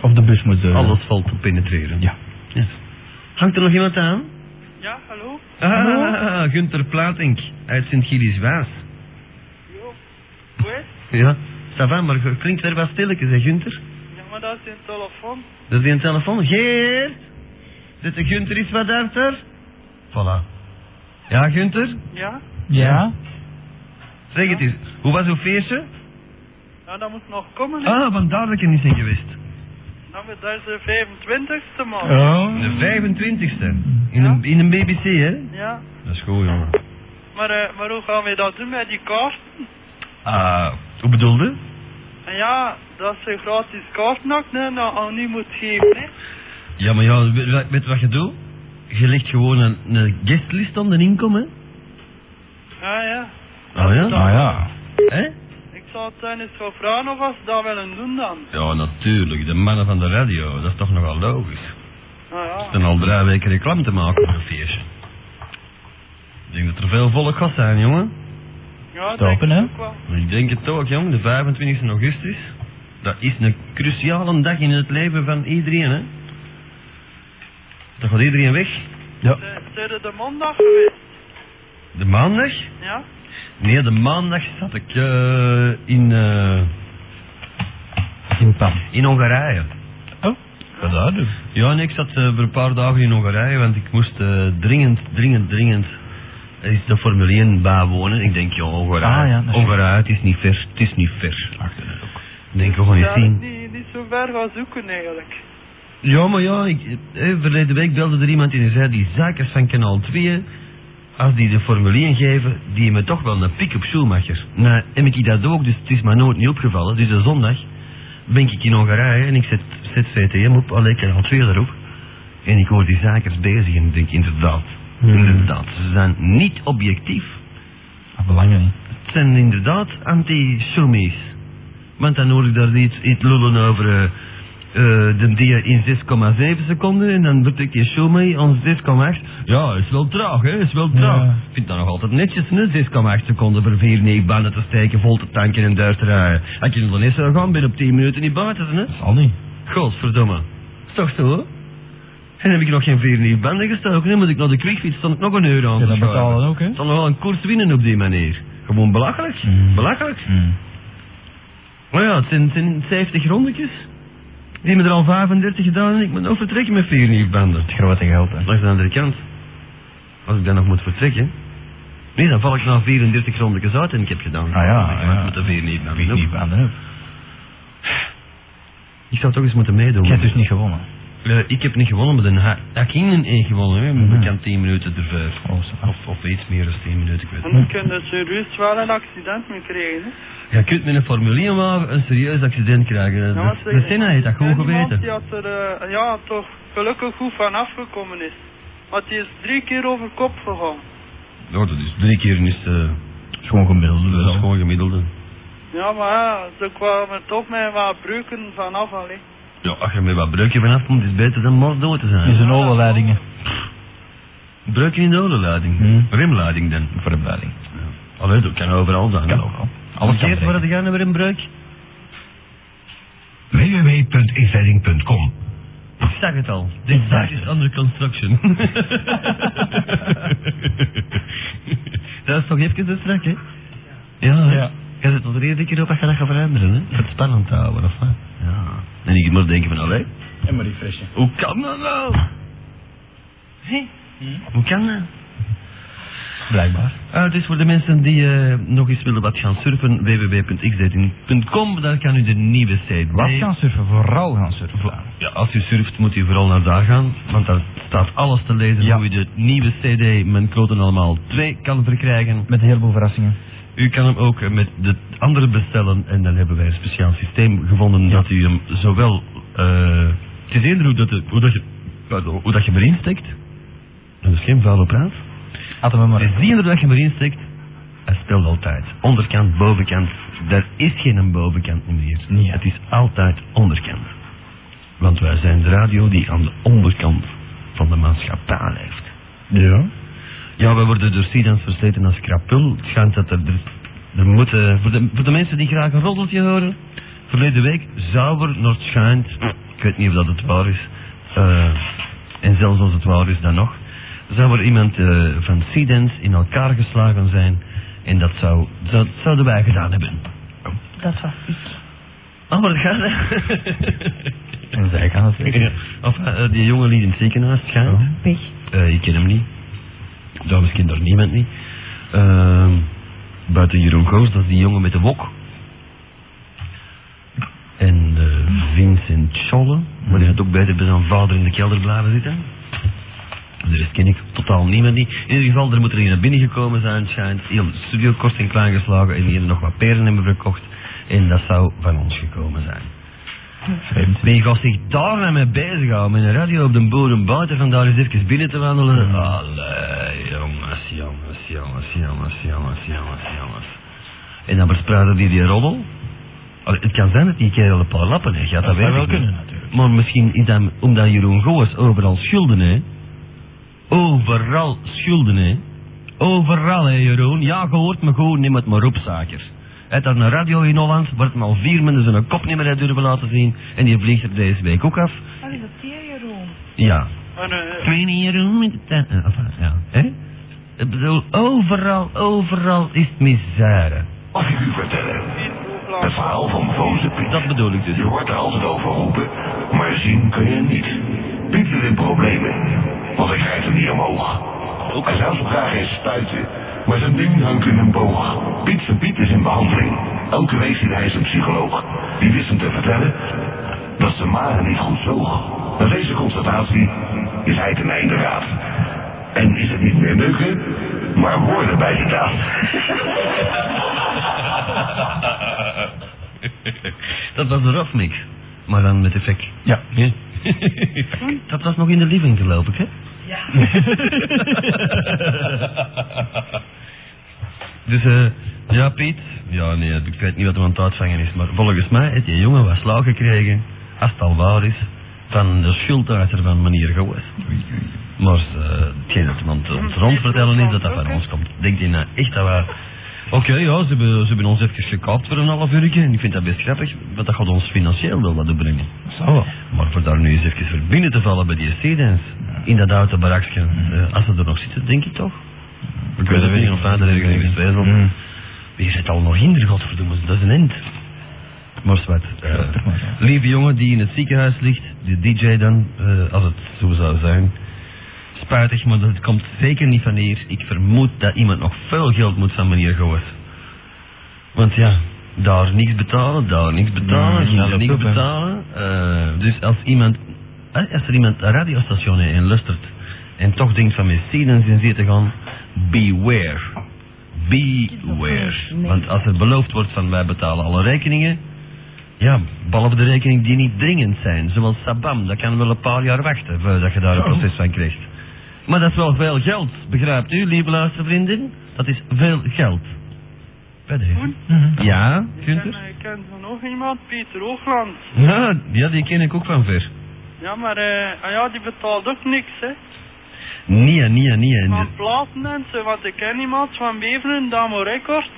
Speaker 2: Of de bus moet... eh,
Speaker 5: Alles valt te penetreren.
Speaker 2: Ja.
Speaker 5: Yes. Mm. Hangt er nog iemand aan?
Speaker 13: Ja, hallo.
Speaker 5: Ah, Gunther Platink uit Sint-Gilles-Waas.
Speaker 13: Jo. Hoi.
Speaker 5: Ja. Savan, maar ge- klinkt er wat stilletjes, hè Gunther?
Speaker 13: Ja, maar dat is een telefoon.
Speaker 5: Dat is een telefoon. Geert! Zit de Gunther is wat achter? Voilà. Ja, Gunther?
Speaker 13: Ja?
Speaker 2: Ja?
Speaker 5: Zeg het eens, hoe was uw feestje?
Speaker 13: Ja, dat Nou, moet nog komen. hè.
Speaker 5: Ah, vandaar dat ik er niet in geweest.
Speaker 13: Dan we daar de 25ste man.
Speaker 5: De 25ste. In, een, in een BBC, hè?
Speaker 13: Ja.
Speaker 5: Dat is goed, jongen.
Speaker 13: Maar, eh, maar hoe gaan we dat doen met die kaarten?
Speaker 5: Ah, hoe bedoelde?
Speaker 13: En ja, dat ze gratis kaarten ook hè, dat al niet moet geven. Hè.
Speaker 5: Ja, maar ja, weet, weet- weet wat je doet? Je legt gewoon een, een guestlist aan de inkomen, hè?
Speaker 13: Ja, ja.
Speaker 5: Ah ja?
Speaker 2: Ah ja.
Speaker 5: Hè?
Speaker 13: Ik zou het dan eens gaan vragen of als ze dat willen doen dan.
Speaker 5: Ja, natuurlijk. De mannen van de radio, dat is toch nogal logisch.
Speaker 13: Nou ja.
Speaker 5: Ze zijn al drie weken reclame te maken op een feestje. Ik denk dat er veel volk gaat zijn, jongen.
Speaker 13: Ja,
Speaker 2: Stoppen,
Speaker 13: denk ik
Speaker 2: hè?
Speaker 13: ook wel.
Speaker 5: Ik denk het ook, jong. De 25 augustus. Dat is een cruciale dag in het leven van iedereen, hè. Dan gaat iedereen weg. Ja.
Speaker 13: Ze- Zijn er de maandag geweest?
Speaker 5: De maandag?
Speaker 13: Ja?
Speaker 5: Nee, de maandag zat ik eh, in, eh,
Speaker 2: In pan.
Speaker 5: in Hongarije.
Speaker 2: Wat dat doen?
Speaker 5: Ja, en ik zat eh, voor een paar dagen in Hongarije, want ik moest eh, dringend, dringend, dringend er is de Formule 1 bijwonen. Ik denk, ja, Hongarije,
Speaker 2: Ah, ja, dat is-
Speaker 5: Hongarije, het is niet ver, het is niet ver. Ik denk, we gaan eens
Speaker 13: Daar
Speaker 5: zien.
Speaker 13: niet, niet zo ver gaan zoeken eigenlijk.
Speaker 5: Ja, maar ja, ik, eh, verleden week belde er iemand in en zei, die zakers van kanaal 2, als die de Formule 1 geven, die me toch wel een pick-up Schumacher. Nou, heb ik dat ook, dus het is mij nooit niet opgevallen. Dus de zondag ben ik in Hongarije en ik zet, zet VTM op, alleen kanaal 2 erop. En ik hoor die zakers bezig en ik denk, inderdaad, inderdaad, ze zijn niet objectief.
Speaker 2: Dat belangrijk Ah, niet.
Speaker 5: Het zijn inderdaad anti-Somies. Want dan hoor ik daar iets, iets lullen over eh, eh, de dia in 6,7 seconden en dan betekent je Somi aan 6,8. Ja, is wel traag, hè? Is wel traag.
Speaker 2: Ja.
Speaker 5: Ik vind dat nog altijd netjes, hè? 6,8 seconden voor 4 nee, banen te steken, vol te tanken en duur te rijden. Had je nog eens zou gaan, ben je op 10 minuten niet buiten, hè?
Speaker 2: Zal niet.
Speaker 5: Godverdomme. Is toch zo? En heb ik nog geen vier nieuwe banden gestoken, dan moet ik naar de quickfit, stond nog een euro aan
Speaker 2: Ja,
Speaker 5: te
Speaker 2: dat
Speaker 5: schuiven.
Speaker 2: betalen ook, hè?
Speaker 5: Dan nog wel een koers winnen op die manier. Gewoon belachelijk.
Speaker 2: Mm.
Speaker 5: Belachelijk.
Speaker 2: Mm.
Speaker 5: Maar ja, het zijn, het zijn 70 rondetjes. Die hebben er al 35 gedaan en ik moet nog vertrekken met vier nieuwe banden.
Speaker 2: Het grote geld, hè.
Speaker 5: Langs de andere kant. Als ik dan nog moet vertrekken. Nee, dan val ik na 34 rondetjes uit en ik heb gedaan.
Speaker 2: Ah ja,
Speaker 5: Ik maak
Speaker 2: ja.
Speaker 5: Met de vier nieuwe banden.
Speaker 2: Wie Nou, niet aan de hulp.
Speaker 5: Ik zou toch eens moeten meedoen.
Speaker 2: Je hebt dus niet gewonnen.
Speaker 5: Eh, ik heb niet gewonnen, maar de Ha- Hakkinen heeft gewonnen. Hè. Maar
Speaker 2: Mhm.
Speaker 5: Ik kan 10 minuten ervoor.
Speaker 2: Oh, zo.
Speaker 5: Of, of iets meer dan 10 minuten, ik weet het
Speaker 13: En
Speaker 5: niet.
Speaker 13: dan kunnen ze rust wel een accident mee krijgen. Hè.
Speaker 5: Je kunt met een Formule 1 wagen een serieus accident krijgen.
Speaker 13: Ja,
Speaker 5: De-
Speaker 13: want,
Speaker 5: de
Speaker 13: eh,
Speaker 5: Senna heeft dat
Speaker 13: ja,
Speaker 5: goed
Speaker 13: die man
Speaker 5: geweten.
Speaker 13: Die had er eh, ja, toch gelukkig goed van afgekomen is. Want die is drie keer over kop gegaan.
Speaker 5: Ja, dat is drie keer is, eh,
Speaker 2: Schoon gemiddelde.
Speaker 5: dat is
Speaker 2: wel.
Speaker 5: gewoon gemiddelde.
Speaker 13: Ja, maar ja, ze kwamen toch met wat breuken vanaf al. hè.
Speaker 5: Ja, als je met wat breuken vanaf komt, is het beter dan morgen dood te zijn.
Speaker 2: Die zijn olenleidingen.
Speaker 5: Breuken in de olenleiding.
Speaker 2: Hmm.
Speaker 5: Remleiding dan.
Speaker 2: Voor de leiding.
Speaker 5: Allee, dat kan overal zijn.
Speaker 2: Kan ook al. Alles kan
Speaker 5: Verkeerd
Speaker 2: breken.
Speaker 5: worden de gaan weer een breuk.
Speaker 6: www.inzending.com
Speaker 5: Ik zag het al. Dit zaak is under construction. dat is toch even de strak, hè? Ja, ja.
Speaker 2: Ja.
Speaker 5: Je zit al de eerste keer op dat je dat gaat veranderen, hè? Om Het spannend te houden, of wat? Ja. En ik moet denken van, allee,
Speaker 2: En maar refreshen.
Speaker 5: hoe kan dat nou? Hé? Hoe kan dat?
Speaker 2: Blijkbaar.
Speaker 5: Ah, het is voor de mensen die eh, nog eens willen wat gaan surfen, www.xzetting.com, daar kan u de nieuwe site
Speaker 2: Wat
Speaker 5: bij.
Speaker 2: gaan surfen? Vooral gaan surfen.
Speaker 5: Ja, als u surft moet u vooral naar daar gaan, want daar staat alles te lezen
Speaker 2: Ja.
Speaker 5: hoe u de nieuwe CD Mijn Kloten Allemaal 2 kan verkrijgen.
Speaker 2: Met een heleboel verrassingen.
Speaker 5: U kan hem ook eh, met de andere bestellen en dan hebben wij een speciaal systeem gevonden dat u hem zowel... eh het is eerder hoe dat, het- hoe dat je, pardon, hoe dat je hem erin steekt. Dat is geen vuile praat.
Speaker 2: Hadden we maar
Speaker 5: Maar het is eerder dat je hem erin steekt, hij speelt altijd. Onderkant, bovenkant, daar is geen een bovenkant meer.
Speaker 2: Nee.
Speaker 5: Het is altijd onderkant. Want wij zijn de radio die aan de onderkant van de maatschappij leeft.
Speaker 2: Ja.
Speaker 5: Ja, wij worden door Sidans versleten als krapul. Het schijnt dat er... er, er moeten, voor, de, voor de mensen die graag een roddeltje horen... Verleden week zou er nog schijnt... Ik weet niet of dat het waar is. eh, en zelfs als het waar is, dan nog. Zou er iemand eh, van Sidans in elkaar geslagen zijn... En dat, zou, dat zouden wij gedaan hebben.
Speaker 3: Dat was ik.
Speaker 5: Ah, maar dat gaat...
Speaker 2: En zij kan het
Speaker 5: Ja. Of eh, die jongen liet in het ziekenhuis schijnt.
Speaker 3: Pech.
Speaker 5: Eh, ik ken hem niet. Dames kent er niemand niet. Ehm, buiten Jeroen Goos, dat is die jongen met de wok. En eh, Vincent Scholle, maar die gaat ook beter bij zijn vader in de kelder blijven zitten. De rest ken ik totaal niemand die. In ieder geval, er moet er een naar binnen gekomen zijn, het schijnt. Heel de studio kort en klein geslagen en die hebben nog wat peren hebben verkocht. En dat zou van ons gekomen zijn.
Speaker 2: Vreemd.
Speaker 5: Ben je gast zich daar nou mee bezighouden met een radio op de bodem buiten van daar eens even binnen te
Speaker 2: Hmm.
Speaker 5: wandelen? Allee, jongens, jongens, jongens, jongens, jongens, jongens, jongens. En dan verspreiden die die roddel. Allee, het kan zijn dat die kerel een paar lappen heeft, ja, dat,
Speaker 2: Dat
Speaker 5: weet
Speaker 2: zou
Speaker 5: ik
Speaker 2: wel
Speaker 5: niet.
Speaker 2: kunnen natuurlijk.
Speaker 5: Maar misschien is dat omdat Jeroen Goos overal schulden hè? Overal schulden hè? Overal hè Jeroen? Ja, je hoort me goed, neem het maar op, zaker. Hij had een radio in Holland waar het maar al vier mensen zijn kop niet meer heeft durven laten zien. En die vliegt er deze week ook af.
Speaker 3: Wat is dat hier, Jeroen?
Speaker 5: Ja.
Speaker 13: En, eh,
Speaker 5: Kleine Jeroen met de tuin. eh, enfin, ja. Hè? Ik bedoel, overal, overal is het misère.
Speaker 6: Mag ik u vertellen?
Speaker 13: in Hoogland.
Speaker 6: Het verhaal van Boze Piet.
Speaker 5: Dat bedoel ik dus.
Speaker 6: Je wordt er altijd over roepen, maar zien kun je niet. Piet zit in problemen, want hij krijgt hem niet omhoog. Ook hij zou zo graag eens spuiten, maar zijn ding hangt in een boog. Piet zijn Piet is in behandeling. Elke week ziet hij zijn psycholoog. Die wist hem te vertellen dat zijn magen niet goed zoog. Na deze constatatie is hij ten einde raad. En is het niet meer neuken, maar woorden bij de daad.
Speaker 5: dat was de Rafmik. Maar dan met effect.
Speaker 2: Ja.
Speaker 5: Ja. dat was nog in de living geloof ik, hè? dus, eh, ja, Piet. Ja, nee, ik weet niet wat er aan het uitvangen is. Maar volgens mij heeft die jongen wat slaag gekregen, als het al waar is, van de schuldeisers van meneer Goes. Maar eh, hetgeen dat iemand ons rondvertellen is, dat dat van ons komt. Denkt hij nou echt dat wij... Oké, ja, ze hebben, ze hebben ons even gekaapt voor een half uurtje. En ik vind dat best grappig, want dat gaat ons financieel wel wat opbrengen.
Speaker 2: Zou wel.
Speaker 5: Maar voor daar nu eens even voor binnen te vallen bij die C-dance, in dat oude barakje, eh, als ze er nog zitten, denk ik toch? Ik weet het niet, of dat ergens in Westwijzel.
Speaker 2: Mm.
Speaker 5: Je zit al nog dus hinder, godverdomme, dat is een end. Maar zwart. eh, lieve jongen die in het ziekenhuis ligt, de DJ dan, eh, als het zo zou zijn. Spijtig, maar dat komt zeker niet van hier. Ik vermoed dat iemand nog veel geld moet van meneer Goos. Want ja, daar niks betalen, daar niks betalen,
Speaker 2: Nee,
Speaker 5: hier
Speaker 2: dat
Speaker 5: niks
Speaker 2: ook, hè.
Speaker 5: betalen. Eh, dus als iemand, eh, als er iemand een radiostation in luistert en toch denkt van met Sidens in zee te gaan, beware. Beware. Want als er beloofd wordt van wij betalen alle rekeningen, ja, behalve de rekeningen die niet dringend zijn, zoals Sabam, dat kan wel een paar jaar wachten voordat je daar een proces van krijgt. Maar dat is wel veel geld, begrijpt u, lieve luistervriendin? Dat is veel geld. Bij deze.
Speaker 13: Koen?
Speaker 2: Mm.
Speaker 5: Ja,
Speaker 13: Ik
Speaker 5: Gunther?
Speaker 13: ken, ik eh, ken zo nog iemand, Pieter Hoogland.
Speaker 5: Ja, ja, die ken ik ook van ver.
Speaker 13: Ja, maar eh, ah ja, die betaalt ook niks, hè.
Speaker 5: Nee, nee, nee. En
Speaker 13: Van
Speaker 5: de-
Speaker 13: platen en zo, want ik ken iemand van Beveren, Damo Records.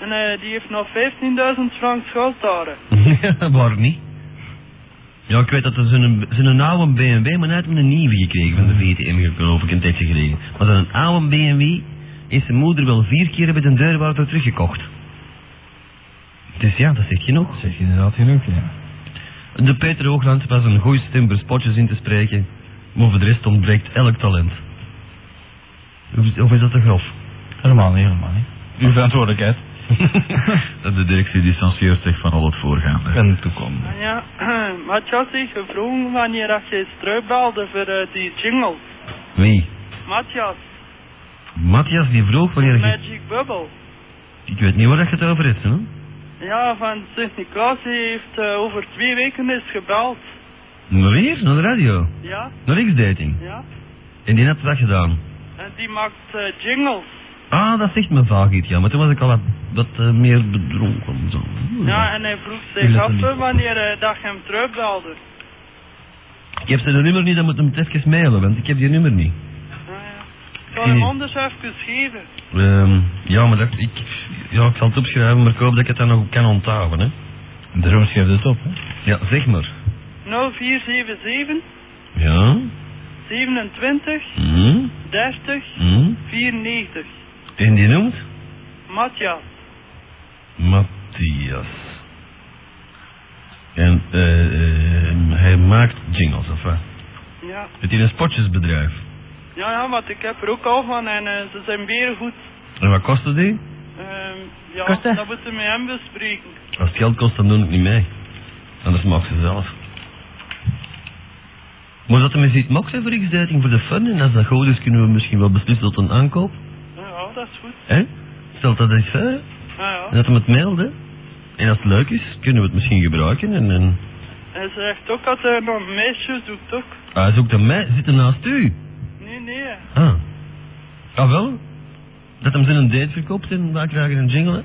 Speaker 13: En eh, die heeft nog 15.000 frank schuld daar. hè.
Speaker 5: Ja, waar niet? Ja, ik weet dat ze een, ze een oude BMW, maar net met een nieuwe gekregen
Speaker 2: Mm.
Speaker 5: van de VTM, geloof ik, een tijdje geleden. Maar zo'n oude BMW heeft zijn moeder wel vier keer met een deurwaarder teruggekocht. Dus ja, dat zegt genoeg.
Speaker 2: Dat zeg je inderdaad genoeg, ja.
Speaker 5: De Peter Hoogland was een goede stem voor spotjes in te spreken, maar voor de rest ontbreekt elk talent. Of is- Of is dat te grof?
Speaker 2: Helemaal niet, helemaal niet.
Speaker 8: Uw verantwoordelijkheid.
Speaker 5: de directie distancieert zich van al het voorgaande.
Speaker 2: Ik ben toekomend.
Speaker 13: En ja, maar ik had zich gevroren wanneer dat jij eens terugbelde voor eh, die jingle.
Speaker 5: Wie?
Speaker 13: Matthias,
Speaker 5: Matthias die vroeg wanneer je...
Speaker 13: Magic Bubble.
Speaker 5: Ik weet niet waar dat je het over hebt, hè?
Speaker 13: Ja, van Sint-Niklaas die heeft eh, over twee weken is gebeld.
Speaker 5: Weer? Naar de radio?
Speaker 13: Ja,
Speaker 5: Naar X-dating?
Speaker 13: ja.
Speaker 5: En die had dat gedaan.
Speaker 13: En die maakt eh, jingles.
Speaker 5: Ah, dat zegt me vaak iets, ja. Maar toen was ik al wat, wat eh, meer bedronken. Zo.
Speaker 13: Ja, en hij vroeg
Speaker 5: Wil
Speaker 13: zich
Speaker 5: dat
Speaker 13: af
Speaker 5: dan niet?
Speaker 13: eh, wanneer eh, dat je hem terugbelde.
Speaker 5: Ik heb zijn nummer niet, dan moet ik hem het even mailen, want ik heb die nummer niet.
Speaker 13: Ja, ja. Ik zal hem
Speaker 5: Nee.
Speaker 13: anders even geven.
Speaker 5: Ehm, ja, maar dat, ik, ja, ik zal het opschrijven, maar ik hoop dat ik het dan nog kan onthouden, hè.
Speaker 2: Daarom schrijf je het op, hè.
Speaker 5: Ja, zeg maar.
Speaker 13: 0477
Speaker 5: Ja?
Speaker 13: 27
Speaker 5: Hm?
Speaker 13: 30
Speaker 5: Hm?
Speaker 13: 94.
Speaker 5: En die noemt?
Speaker 13: Matthias.
Speaker 5: Matthias. En eh, eh, hij maakt jingles, of wat?
Speaker 13: Ja.
Speaker 5: Het is een spotjesbedrijf.
Speaker 13: ja, ja, want ik heb er ook al van en eh, ze zijn weer goed.
Speaker 5: En wat kostte die?
Speaker 13: Ehm, ja,
Speaker 5: Korte.
Speaker 13: dat moeten we met hem bespreken.
Speaker 5: Als het geld kost, dan doen we het niet mee. Anders maakt ze zelf. Maar dat hem eens iets mag zijn voor X-duiting, voor de fun, en als dat goed is, kunnen we misschien wel beslissen tot een aankoop.
Speaker 13: Ja, dat is goed.
Speaker 5: Hè? Stelt dat eens voor, hè?
Speaker 13: Ja,
Speaker 5: En
Speaker 13: ja.
Speaker 5: dat hem het melden. En als het leuk is, kunnen we het misschien gebruiken. En, en...
Speaker 13: Hij zegt ook dat hij nog meisjes zoekt ook.
Speaker 5: Ah, hij zoekt aan mij, zit hem naast u.
Speaker 13: Nee, nee.
Speaker 5: Ah. Ah, wel? Dat hem zijn date verkoopt en wij krijgen een jingle, hè?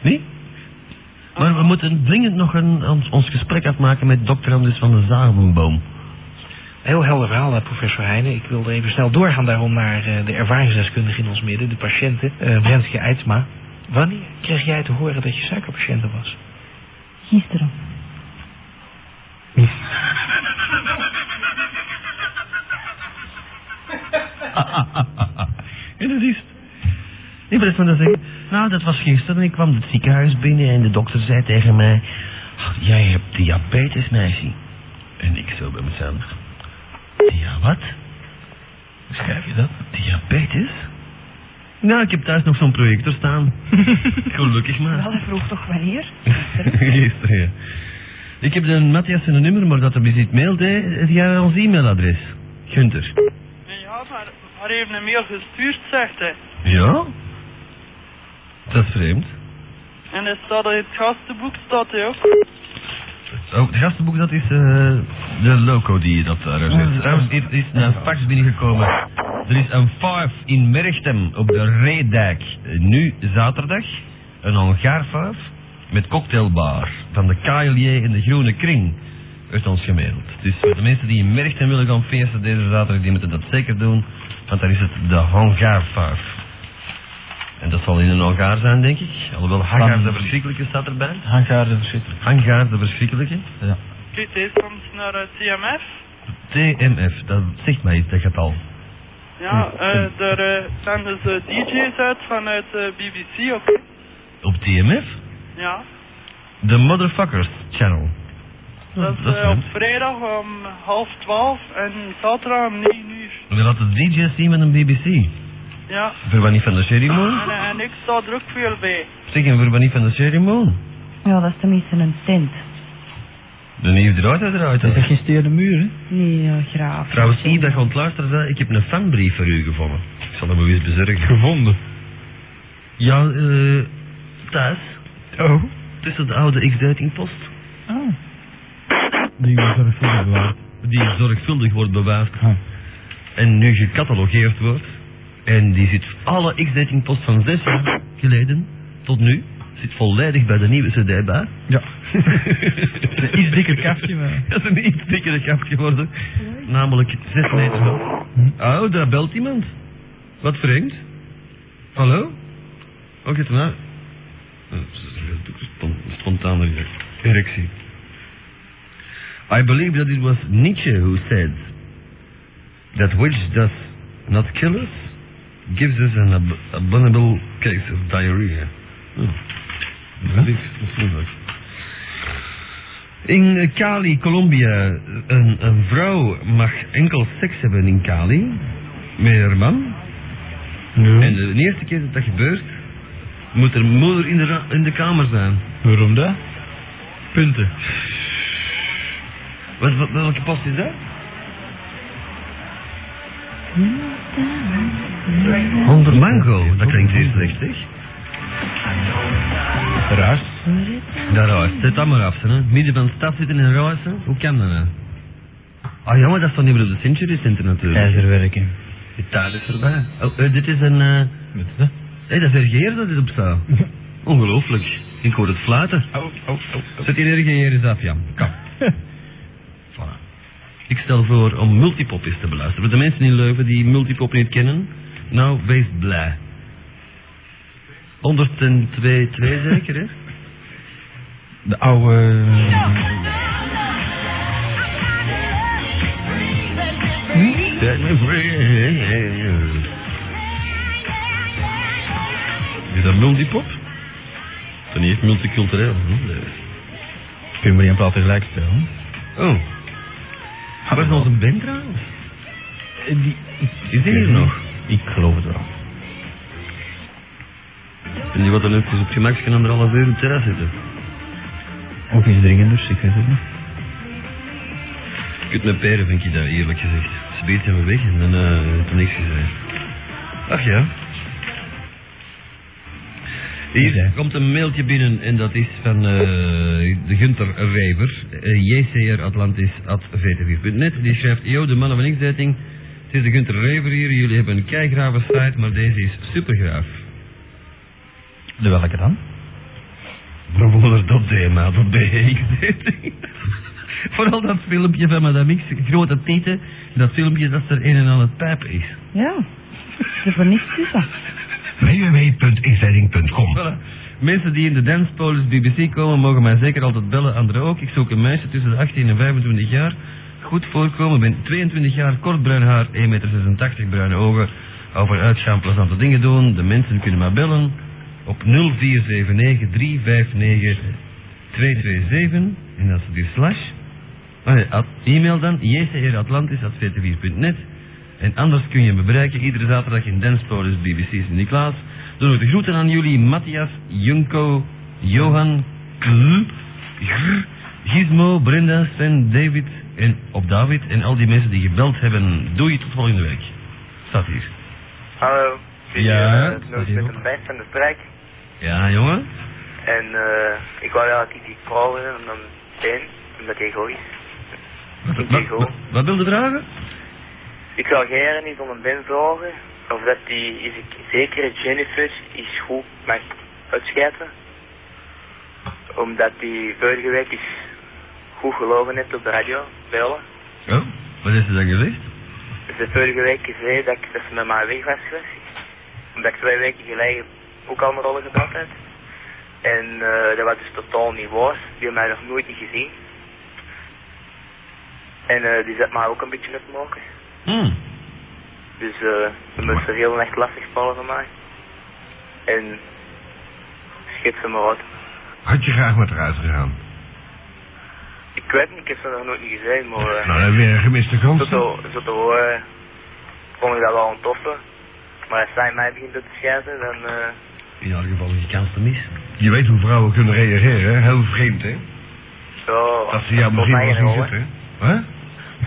Speaker 5: Nee? Maar we moeten dringend nog een, ons, ons gesprek afmaken met dokter Anders van de Zagenboom.
Speaker 12: Heel helder verhaal, hè, professor Heijnen. Ik wilde even snel doorgaan daarom naar eh, de ervaringsdeskundige in ons midden, de patiënten, eh Renske Eidsma. Wanneer kreeg jij te horen dat je suikerpatiënte was?
Speaker 3: Gisteren.
Speaker 5: En dat is... Nee, maar dat is wat dat zeggen. Nou, dat was gisteren. Ik kwam het ziekenhuis binnen en de dokter zei tegen mij... "Ach, Jij hebt diabetes, meisje. En ik zo bij mezelf. Ja, wat? Hoe schrijf je dat? Diabetes? Nou, ik heb thuis nog zo'n projector staan. Gelukkig maar.
Speaker 3: Wel, hij vroeg toch wanneer?
Speaker 5: Gisteren, ja. Ik heb de Matthias zijn nummer, maar dat hij iets mailt, hè, heb jij ons e-mailadres? Gunter.
Speaker 13: Ja, maar, maar hij heeft een mail gestuurd, zegt hij.
Speaker 5: Ja? Dat is vreemd.
Speaker 13: En hij staat in het gastenboek, staat hij ook.
Speaker 5: Oh, het gastenboek, dat is eh, de loco die dat daar zit. Trouwens, hier is een fax binnengekomen. Er is een faaf in Merchtem op de Reedijk. Eh, Nu zaterdag. Een Hongaarfaaf met cocktailbar van de KLJ in de Groene Kring. Uit ons gemaild. Dus voor de mensen die in Merchtem willen gaan feesten deze zaterdag, die moeten dat zeker doen. Want daar is het de Hongaarfaaf. En dat zal in een Hongaar zijn, denk ik. Alhoewel Hangaar de verschrikkelijke staat erbij.
Speaker 2: Hangaar de verschrikkelijke.
Speaker 5: Hangaar de verschrikkelijke.
Speaker 2: Ja.
Speaker 13: Kijk, hij komt naar eh, het TMF.
Speaker 5: TMF, dat zegt mij iets, dat getal.
Speaker 13: Ja, eh, daar eh, zenden ze DJ's uit vanuit eh, de BBC ook.
Speaker 5: Op TMF?
Speaker 13: Ja,
Speaker 5: De Motherfuckers Channel.
Speaker 13: dat is
Speaker 5: dat is
Speaker 13: eh, op
Speaker 5: leuk.
Speaker 13: vrijdag om half twaalf en zaterdag om negen uur.
Speaker 5: We laten de DJ's zien met een BBC.
Speaker 13: Ja,
Speaker 5: Voor wanneer van de Sherry
Speaker 13: en,
Speaker 5: Moon?
Speaker 13: eh, en ik sta er ook veel bij.
Speaker 5: Zeg, en voor wanneer van de Sherry Moon?
Speaker 3: Ja, dat is tenminste een tent.
Speaker 5: De nieuwe eruit, hè, eruit. hè.
Speaker 2: Dat gesteerde muur, hè?
Speaker 3: Nee, ja, graaf.
Speaker 5: Trouwens, Yves, dat je aan het luisteren bent, ik heb een fanbrief voor u gevonden. Ik zal hem wel eens bezorgen.
Speaker 8: Gevonden.
Speaker 5: Ja, eh, thuis.
Speaker 8: Oh.
Speaker 5: Tussen de oude X-duitingpost.
Speaker 2: Ah. Die was er voor bewaard.
Speaker 5: Die zorgvuldig wordt bewaard.
Speaker 2: Ah.
Speaker 5: en nu gecatalogeerd wordt. En die zit alle X-datingpost van zes jaar geleden tot nu. Zit volledig bij de nieuwe cd bij.
Speaker 2: Ja.
Speaker 5: Een
Speaker 2: Een iets dikker kaftje, maar-
Speaker 5: Dat is een iets dikkere kaft geworden. Namelijk zes meter hoog. Oh, daar belt iemand. Wat vreemd. Hallo? Oh, het maar. Eh, spon- Spontane reactie. erectie. I believe that it was Nietzsche who said that which does not kill us gives us an ab- abominable case of diarrhea. Oh. Dat is dat is moeilijk. In eh, Cali, Colombia, een, een vrouw mag enkel seks hebben in Cali met haar man. En de eerste keer dat dat gebeurt, moet er moeder in de, ra- in de kamer zijn.
Speaker 2: Waarom dat?
Speaker 5: Punten. Wat, wat, welke post is dat? Onder mango, dat klinkt zeer slecht, zeg.
Speaker 2: Raar.
Speaker 5: Dat ruist, zet dat maar af, hè. Midden van de stad zitten en ruisen, hoe kan dat nou? Ah ja, maar dat staat niet meer op de Century Center natuurlijk.
Speaker 2: IJzerwerken.
Speaker 5: De taal is voorbij. Oh, eh, dit is een... eh
Speaker 2: Wat is dat?
Speaker 5: Hé, dat is RGR dat dit op staat. Ongelooflijk. Ik hoor het fluiten.
Speaker 2: Oh,
Speaker 5: Zet die RGR eens af, Jan. Kom. voilà. Ik stel voor om multipop eens te beluisteren. Voor de mensen in Leuven die multipop niet kennen, nou, wees blij. 102, 2 zeker, hè?
Speaker 2: De oude... Eh,
Speaker 5: Set me free. Is dat multipop? Dat is niet multicultureel. hè? Nee.
Speaker 2: Kun je maar één plaat tegelijk stellen?
Speaker 5: Oh. Waar is onze band trouwens?
Speaker 2: Eh, Die...
Speaker 5: Is die hier nog?
Speaker 2: Ik geloof het wel.
Speaker 5: En die wat dan ook dus op gemakje anderhalf uur in het terras zitten.
Speaker 2: Ook iets dringender, dus ik weet het niet.
Speaker 5: Kut met peren vind ik dat eerlijk gezegd. Ze beet hem weg en dan eh heeft hem niks gezegd. Ach ja. Hier komt een mailtje binnen en dat is van eh, de Gunter Rijver, eh, JCR Atlantis at vtv.net. Die schrijft, yo de mannen van X-Dating, het is de Gunter Rijver hier, jullie hebben een keigrave site, maar deze is supergraaf.
Speaker 2: De welke dan?
Speaker 5: Bravoer.d, maat, op de X-Dating. Vooral dat filmpje van Madame X, grote tieten, dat filmpje dat er een en al het pijp is.
Speaker 3: Ja. Er voor niks tussen.
Speaker 5: www.inzetting.com. Mensen die in de dancepolis BBC komen, mogen mij zeker altijd bellen. Anderen ook. Ik zoek een meisje tussen de 18 en 25 jaar. Goed voorkomen, ben 22 jaar, kort bruin haar, 1,86 meter, bruine ogen. Over uitgaan, plezante dingen doen. De mensen kunnen mij bellen op 0479 359 227. En dat is dus slash. Oh nee, at- e-mail dan, jcratlantis.vtv.net. En anders kun je me bereiken iedere zaterdag in dus Dancepolis BBC Sint-Niklaas. Doe nog de groeten aan jullie, Matthias, Junko, Johan, Kl, Gr, Gizmo, Brenda, Sven, David en op David en al die mensen die gebeld hebben. Doei, tot volgende week. Staat hier.
Speaker 1: Hallo,
Speaker 5: Ja,
Speaker 1: eh,
Speaker 5: staat
Speaker 1: Noot
Speaker 5: hier
Speaker 1: met
Speaker 5: ook.
Speaker 1: een band van de strijk.
Speaker 5: Ja, jongen.
Speaker 1: En eh, ik wou eigenlijk die call hebben om dan zijn, omdat hij goed is.
Speaker 5: Wat, wat, wat, wat wil je dragen?
Speaker 1: Ik zou graag niet om een band vragen, of dat die is ik, zekere Jennifer is goed mag uitschrijven. Omdat die vorige week is goed gelogen net op de radio, bellen.
Speaker 5: Oh, wat is er dan gezegd?
Speaker 1: Dus de vorige week zei dat, ik, dat ze met mij weg was geweest. Omdat ik twee weken geleden ook al mijn rollen gedaan had. En eh, dat was dus totaal niet waar. Die had mij nog nooit niet gezien. En eh, die zat mij ook een beetje op maken.
Speaker 5: Hmm.
Speaker 1: Dus eh, ze moest er heel erg lastig vallen van mij. En schiet ze me uit.
Speaker 14: Had je graag met eruit gegaan?
Speaker 1: Ik weet niet, ik heb ze nog nooit niet gezien, maar... eh,
Speaker 14: Nou, dan heb je een gemiste kans.
Speaker 1: Zo te, zo te horen vond eh, ik dat wel een toffe. Maar als zij mij begint te schijten, dan... eh,
Speaker 5: In elk geval is die kans te mis.
Speaker 14: Je weet hoe vrouwen kunnen reageren, hè? Heel vreemd, hè?
Speaker 1: zo...
Speaker 14: Dat ze jou misschien
Speaker 1: stopt
Speaker 14: wel
Speaker 1: mij geen
Speaker 14: zien
Speaker 1: rol,
Speaker 14: zitten. Hè?
Speaker 1: hè.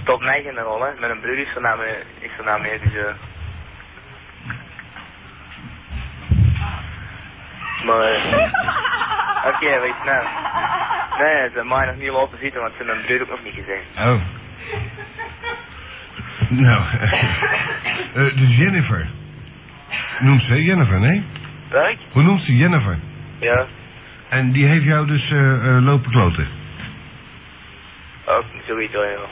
Speaker 1: Stopt mij geen rol, hè. Met een broer is er naar mij, is er naar mij, dus... eh. Maar... eh, Oké, weet je nou. Nee, ze hebben mij nog niet lopen zitten, want ze hebben mijn broer ook nog niet gezien.
Speaker 14: Oh. Nou, eh, dus Jennifer. Noemt ze hè? Jennifer, nee?
Speaker 1: Werk?
Speaker 14: Hoe noemt ze Jennifer?
Speaker 1: Ja.
Speaker 14: En die heeft jou dus eh, eh, lopen kloten?
Speaker 1: Ook zoiets, hoor, ja.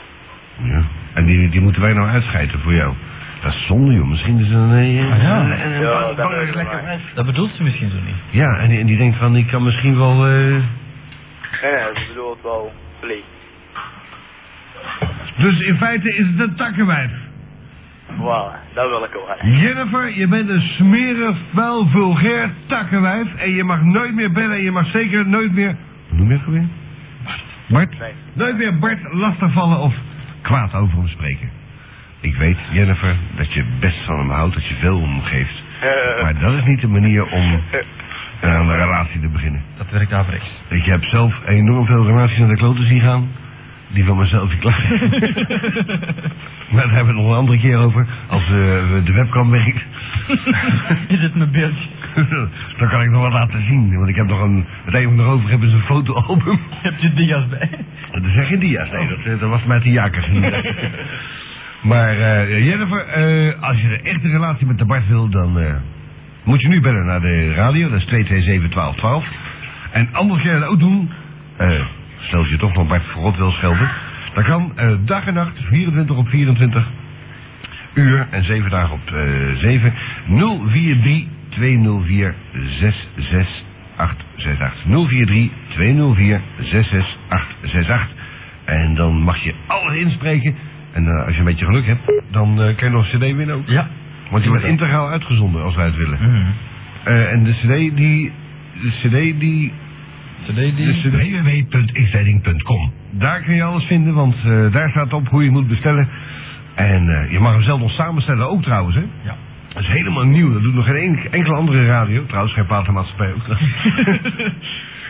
Speaker 14: Ja. En die, die moeten wij nou uitscheiden voor jou. Dat is zonde, joh. Misschien is er een... eh, een- een-
Speaker 1: Ah, Ja, dat
Speaker 14: een- lekker
Speaker 1: is lekker.
Speaker 2: Ah, Dat bedoelt ze misschien zo niet.
Speaker 14: Ja, en die, en die denkt van, ik kan misschien wel... eh,
Speaker 1: Nee, nee, ze bedoelt wel... Vlieg.
Speaker 14: Dus in feite is het een takkenwijf.
Speaker 1: Voilà, dat wil ik wel.
Speaker 14: Jennifer, je bent een smerig, vuil, vulgair takkenwijf. En je mag nooit meer bellen en je mag zeker nooit meer... Hoe noem je het weer? Bart?
Speaker 1: Nee.
Speaker 14: Nooit meer Bart lastigvallen of kwaad over hem spreken. Ik weet, Jennifer, dat je best van hem houdt, dat je veel om hem geeft. Maar dat is niet de manier om eh, aan een relatie te beginnen.
Speaker 2: Dat werkt averechts.
Speaker 14: Ik heb zelf enorm veel relaties naar de kloten zien gaan. Die van mezelf die klaar Maar daar hebben we het nog een andere keer over. Als eh, de webcam werkt.
Speaker 2: Is het mijn beeldje?
Speaker 14: Dan kan ik nog wat laten zien. Want ik heb nog een... Het enige nog over heb is een fotoalbum.
Speaker 2: Heb je dia's bij?
Speaker 14: Dat zijn geen dia's. Nee, dat, eh, dat was met de jakkers. maar eh, Jennifer, eh, als je een echte relatie met de Bart wil, dan eh, moet je nu bellen naar de radio. Dat is 227-1212. En anders ga je dat ook doen. eh, stel dat je toch nog Bart Verrot wil schelden. Dan kan eh, dag en nacht, 24 op 24 uur en 7 dagen op eh 7, 043 204 66868. 043 204 66868. En dan mag je alles inspreken. En eh, als je een beetje geluk hebt, dan eh, kan je nog een cd winnen ook.
Speaker 2: Ja.
Speaker 14: Want die wordt integraal uitgezonden als wij het willen.
Speaker 2: Mhm.
Speaker 14: Eh, en de cd die... De cd die...
Speaker 2: CD die...
Speaker 14: Dus www.inzetting.com. Daar kun je alles vinden, want eh, daar staat op hoe je moet bestellen. En eh, je mag hem zelf nog samenstellen ook trouwens, hè?
Speaker 2: Ja.
Speaker 5: Dat is helemaal nieuw. Dat doet nog geen enk- enkele andere radio. Trouwens, geen platenmaatschappij ook.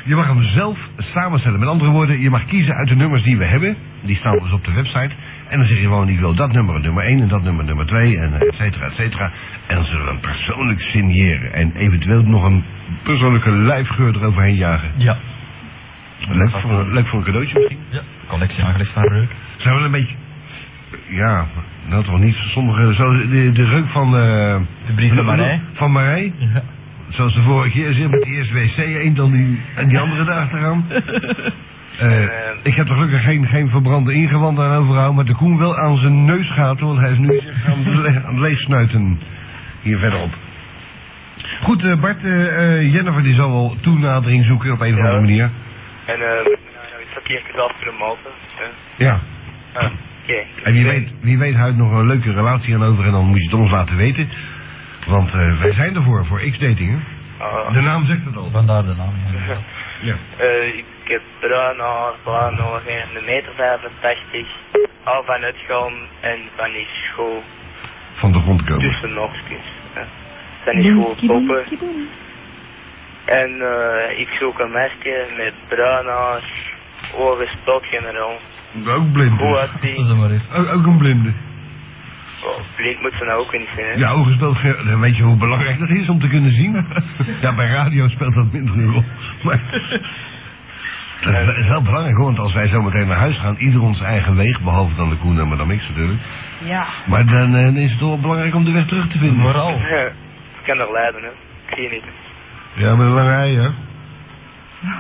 Speaker 5: je mag hem zelf samenstellen. Met andere woorden, je mag kiezen uit de nummers die we hebben. Die staan dus op de website. En dan zeg je gewoon, ik wil dat nummer, nummer 1 en dat nummer, nummer 2 en eh, et cetera, et cetera. En dan zullen we hem persoonlijk signeren. En eventueel nog een persoonlijke lijfgeur eroverheen jagen.
Speaker 2: Ja.
Speaker 5: Leuk voor, leuk voor een cadeautje misschien.
Speaker 2: Ja, collectie aangelegd van reuk.
Speaker 5: Zijn we een beetje... Ja, nou toch niet. Sommige... Zo, de, de reuk van... eh
Speaker 2: de brief van Marij.
Speaker 5: Van Marij.
Speaker 2: Ja.
Speaker 5: Zoals de vorige keer zit met die eerst wc heen dan die, en die andere daar achteraan. Eh, ik heb er gelukkig geen, geen verbrande ingewanden aan overgehouden, maar de Koen wel aan zijn neus gaat, want hij is nu zich aan het le- aan het leegsnuiten hier verderop. Goed, eh, Bart, eh eh, Jennifer die zal wel toenadering zoeken op een of andere manier.
Speaker 1: En ehm, is dat hier zelf promoten? hè?
Speaker 5: Ja.
Speaker 1: Ah, Oké.
Speaker 5: En wie weet, wie weet houdt nog een leuke relatie aan over en dan moet je het ons laten weten. Want eh, wij zijn ervoor, voor X-dating. hè.
Speaker 1: Ah.
Speaker 5: De naam zegt het al.
Speaker 2: Vandaar de naam, ja.
Speaker 5: Ja.
Speaker 1: Eh, ik heb bruin haar, bruin haar, een meter 85, al van het gaan en van die school
Speaker 5: Van de grond komen.
Speaker 1: tussen oogstjes. hè. Zijn die school poppen. En eh, ik zoek een meisje met bruin haar, ogen stok generaal.
Speaker 5: Ook blind.
Speaker 1: Hoe had die?
Speaker 5: Ook, ook een blinde.
Speaker 1: Oh, blind moet ze nou ook niet zijn, hè?
Speaker 5: Ja, ogen speelt geen- dan weet je hoe belangrijk dat is om te kunnen zien. ja, bij radio speelt dat minder een rol. Maar dat is wel belangrijk hoor, want als wij zo meteen naar huis gaan, ieder ons eigen weg, behalve dan de Koen en Madame X natuurlijk.
Speaker 3: Ja.
Speaker 5: Maar dan eh, is het wel belangrijk om de weg terug te vinden.
Speaker 2: Vooral.
Speaker 1: Ja, ik kan er lijden, hè? Ik zie niet.
Speaker 5: Ja, met een lange ei, hè?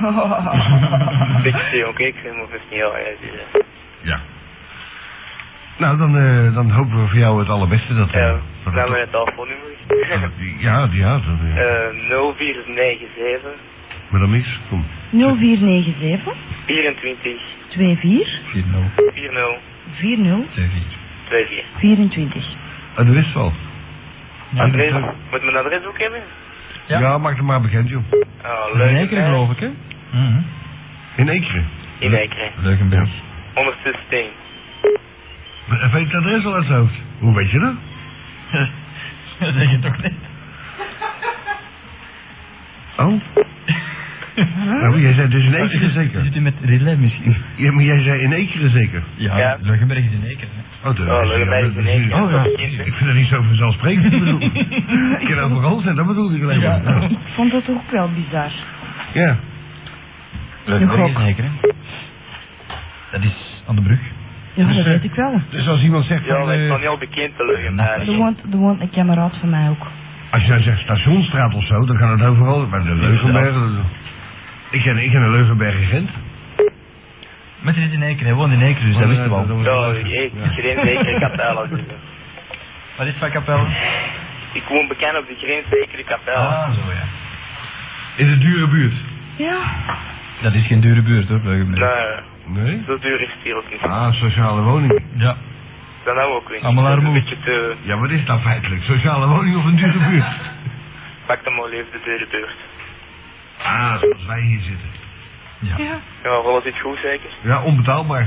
Speaker 1: Een beetje te jong, hè? ik vind me best niet heel erg. dus, hè.
Speaker 5: Ja. Nou, dan, eh, dan hopen we voor jou het allerbeste. Dat, eh,
Speaker 1: Ja,
Speaker 5: dat
Speaker 1: nou
Speaker 5: het-
Speaker 1: met het telefoonnummer.
Speaker 5: ja, ja, dat, eh,
Speaker 1: Eh 0497
Speaker 5: Madame X, kom.
Speaker 3: 0497
Speaker 1: 24
Speaker 3: 24
Speaker 1: 40
Speaker 3: 40
Speaker 1: 24.
Speaker 3: 24.
Speaker 5: Ah, dat wist wel.
Speaker 1: Adres, moet mijn adres ook hebben?
Speaker 5: Ja. maak het maar bekend, joh.
Speaker 1: Oh, leuk. hè?
Speaker 5: ik, hè?
Speaker 2: Mhm.
Speaker 5: In Ekeren?
Speaker 1: In Ekeren.
Speaker 2: Leugenberg.
Speaker 1: 116.
Speaker 5: Eh, Weet je het adres al uit zijn hoofd? Hoe weet je dat?
Speaker 2: Dat zeg je toch niet?
Speaker 5: Oh? Nou, maar jij zei dus in Ekeren zeker?
Speaker 2: Zit u met relay misschien?
Speaker 5: Ja, maar jij zei in Ekeren zeker?
Speaker 2: Ja, Leugenberg is in Ekeren.
Speaker 5: Oh, de,
Speaker 1: Oh, Leugenberg is in Ekeren.
Speaker 5: Oh, ja. Ik vind dat niet zo vanzelfsprekend. Ik bedoel, ik kan overal zijn, dat bedoelde ik alleen maar. Ja.
Speaker 3: Ik vond dat ook wel bizar.
Speaker 5: ja.
Speaker 2: Leugenberg is
Speaker 5: Nog
Speaker 2: in Ekeren. Dat is aan de brug.
Speaker 3: Ja, dat weet ik wel.
Speaker 5: Dus als iemand zegt
Speaker 1: Ja,
Speaker 5: van...
Speaker 1: maar ik
Speaker 5: eh,
Speaker 1: ben heel bekend te Leugenberg.
Speaker 3: Er woont, er woont een kameraad van mij ook.
Speaker 5: Als je nou zegt Stationstraat of zo, dan kan het overal. Bij de Leugenberg. Ik ken, ik ken de Leugenberg in Gent.
Speaker 2: Maar ze zit in Ekeren, hij woont in Ekeren, dus dat
Speaker 5: Oh,
Speaker 2: wisten
Speaker 5: ja,
Speaker 2: we al.
Speaker 5: dat was-
Speaker 1: Ja, ik- ik
Speaker 5: Ja.
Speaker 1: grens Ekeren Capelle. dus, hè.
Speaker 2: Wat is van Kapel?
Speaker 1: Ik woon bekend op de grens Ekeren Capelle.
Speaker 2: Ah, zo ja.
Speaker 5: In de dure buurt.
Speaker 3: Ja.
Speaker 2: Dat is geen dure buurt hoor, Leugenberg.
Speaker 1: Nou,
Speaker 5: Nee?
Speaker 1: zo duur is het hier ook niet.
Speaker 5: Ah, sociale woning.
Speaker 2: Ja.
Speaker 1: Dat nou ook weer niet.
Speaker 2: Allemaal
Speaker 1: Dat is
Speaker 2: armoede.
Speaker 1: Een beetje te...
Speaker 5: Ja, wat is dat feitelijk? Sociale woning of een dure buurt?
Speaker 1: Pak dan maar even de dure beurt.
Speaker 5: Ah, zoals wij hier zitten.
Speaker 3: Ja.
Speaker 1: Ja, alles is goed zeker?
Speaker 5: Ja, onbetaalbaar.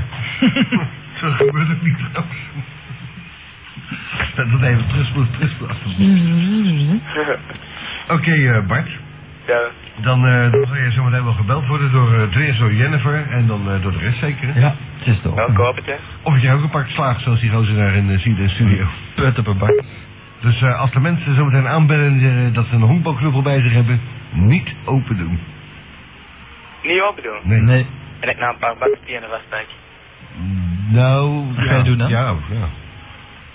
Speaker 5: zo gebeurt het niet trouwens. Dat het even truspelen, truspelen alsjeblieft. Oké eh, Bart,
Speaker 1: ja.
Speaker 5: dan, eh, dan zal je zometeen wel gebeld worden door eh, ten eerste door Jennifer en dan eh, door de rest zeker. hè?
Speaker 2: Ja, het is toch.
Speaker 1: Nou, ik hoop het, hè.
Speaker 5: Of je ook een pak slaagt zoals die gozer daar in de de studio.
Speaker 2: Put op een bak.
Speaker 5: Dus eh, als de mensen zometeen aanbellen en zeggen dat ze een honkbalknuppel bij zich hebben, niet open doen.
Speaker 1: Niet open doen.
Speaker 5: Nee.
Speaker 2: Nee,
Speaker 1: En ik na een paar bakstenen vastpakken.
Speaker 5: Nou,
Speaker 2: Wat ga je doen dan?
Speaker 5: Ja, ja.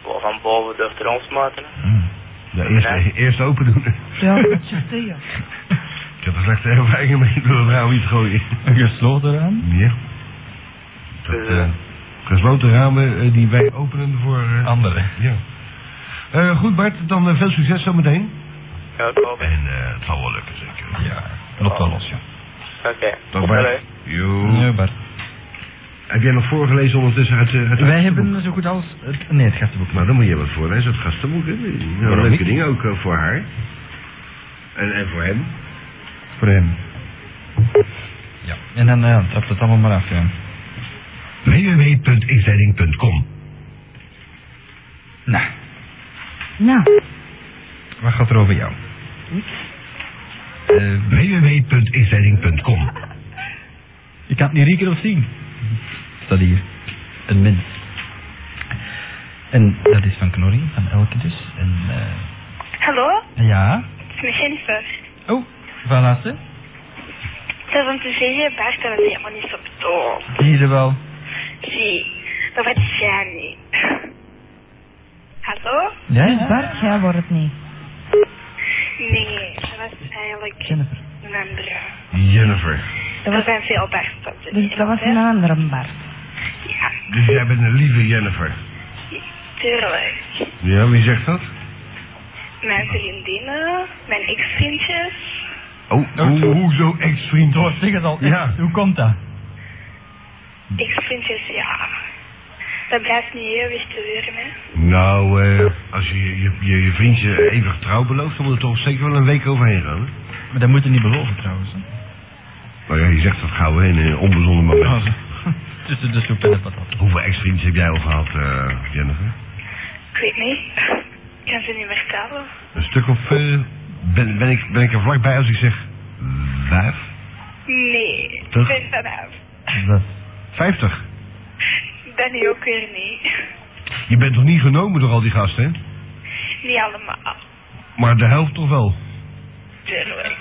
Speaker 1: Wel oh, Van boven door te ons maken. hè.
Speaker 5: Ja, eerst,
Speaker 1: Nee.
Speaker 5: eerst open doen.
Speaker 3: Ja, dat is echt, ja.
Speaker 5: Ik heb er slechte ervaringen mee door het raam niet te gooien.
Speaker 2: een gesloten raam.
Speaker 5: Ja. Dat, eh, gesloten ramen eh, die wij openen voor... eh,
Speaker 2: Andere.
Speaker 5: ja. Eh, goed Bart, dan eh, veel succes zometeen.
Speaker 1: Ja, ik hoop het.
Speaker 5: En eh, het zal wel lukken zeker.
Speaker 2: Ja, loopt wel los, ja.
Speaker 1: Oké.
Speaker 5: Dag
Speaker 1: Hallo.
Speaker 5: Bart. Jo.
Speaker 2: Nee, Bart.
Speaker 5: Heb jij nog voorgelezen ondertussen uit, eh, uit het
Speaker 2: Wij
Speaker 5: gastenboek?
Speaker 2: hebben zo goed als het... Nee, het gastenboek.
Speaker 5: Nou, dan moet je wat voorlezen, het gastenboek. Hè? Nou,
Speaker 2: Waarom
Speaker 5: leuke
Speaker 2: niet?
Speaker 5: dingen ook eh, voor haar. En, en voor hem.
Speaker 2: Voor hem. Ja. En dan eh, trapt het allemaal maar af, ja.
Speaker 5: www.xzending.com
Speaker 2: Nou,
Speaker 3: Nou,
Speaker 2: Wat gaat er over jou?
Speaker 5: Eh, www.inzending.com
Speaker 2: Je kan het niet rieken of zien. Staat hier. Een mens. En dat is van Knorri, van Elke dus. En eh,
Speaker 15: Hallo,
Speaker 2: ja, Oh,
Speaker 15: ik ben Jennifer.
Speaker 2: van Assen.
Speaker 15: Het is om te zeggen, Bart, dat is helemaal niet zo bedoeld.
Speaker 2: Zie je wel.
Speaker 15: Zie, dat weet jij niet. Hallo?
Speaker 2: Ja,
Speaker 3: Dus Bart, jij wordt het niet.
Speaker 15: Nee, dat was eigenlijk een andere.
Speaker 5: Jennifer.
Speaker 15: Er zijn veel Bart's.
Speaker 3: Dus dat was een andere Bart.
Speaker 5: Dus jij bent een lieve Jennifer.
Speaker 15: Tuurlijk.
Speaker 5: Ja, wie zegt dat?
Speaker 15: Mijn vriendinnen, mijn ex-vriendjes.
Speaker 5: Oh, hoe, hoezo ex-vriend?
Speaker 2: Oh, zeg het al. Ja. Hoe komt dat?
Speaker 15: Ex-vriendjes, ja. Dat blijft niet eeuwig te duren, hè.
Speaker 5: Nou, eh, als je je, je je vriendje eeuwig trouw belooft, dan moet er toch zeker wel een week overheen gaan. Hè?
Speaker 2: Maar dat moet je niet beloven trouwens. hè.
Speaker 5: Nou ja, je zegt dat gauw hè, in een onbezonnen moment.
Speaker 2: Tussen de soep en de patat.
Speaker 5: Hoeveel ex-vriendjes heb jij al gehad, eh, Jennifer?
Speaker 15: Ik weet niet. Ik kan ze niet meer tellen.
Speaker 5: Een stuk of... eh, ben, ben, ik, ben ik er vlakbij als ik zeg... Vijf?
Speaker 15: Nee, ik
Speaker 5: Toch?
Speaker 15: ben vanaf.
Speaker 5: Vijftig?
Speaker 15: Ben nu ook weer niet.
Speaker 5: Je bent toch niet genomen door al die gasten, hè?
Speaker 15: Niet allemaal.
Speaker 5: Maar de helft toch wel?
Speaker 15: Tuurlijk.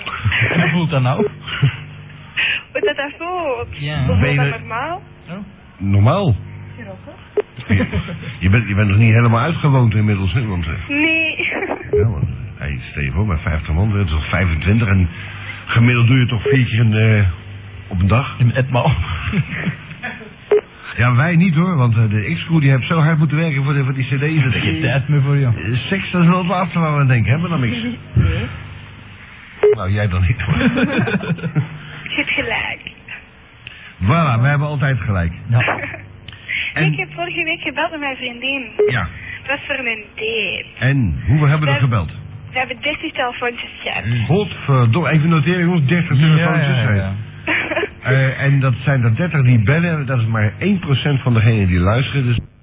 Speaker 2: Hoe voelt dat nou?
Speaker 15: Hoe dat dat voelt.
Speaker 2: Ja.
Speaker 15: Hoe
Speaker 5: Ben
Speaker 15: voelt
Speaker 5: je er-
Speaker 15: dat normaal?
Speaker 5: Normaal.
Speaker 15: Ja.
Speaker 5: Je bent, je bent nog niet helemaal uitgewoond inmiddels, hè? Want, eh,
Speaker 15: Nee.
Speaker 5: ja, want hey, Stevo, bij 50 man, dat is toch 25 en gemiddeld doe je toch vier keer een, eh, op een dag?
Speaker 2: In etmaal.
Speaker 5: Ja, wij niet hoor, want eh, de X-crew die heeft zo hard moeten werken voor, de, voor die cd's. Dat
Speaker 2: Geen tijd meer voor jou.
Speaker 5: Eh, Seks, dat is wel het laatste waar we aan denken, hebben we dan niks?
Speaker 15: Nee.
Speaker 5: Nou, jij dan niet hoor.
Speaker 15: Je hebt gelijk.
Speaker 5: voilà, wij hebben altijd gelijk. En-
Speaker 15: Ik heb vorige week gebeld met mijn vriendin.
Speaker 5: Ja.
Speaker 15: Het was voor een date.
Speaker 5: En, hoeveel hebben we er
Speaker 15: Wij-
Speaker 5: gebeld?
Speaker 15: We hebben 30 telefoontjes gehad.
Speaker 5: Godverdomme, even noteren jongens, 30 telefoontjes zijn. Mm. Eh, en dat zijn er 30 die bellen, dat is maar 1% van degenen die luisteren. Dus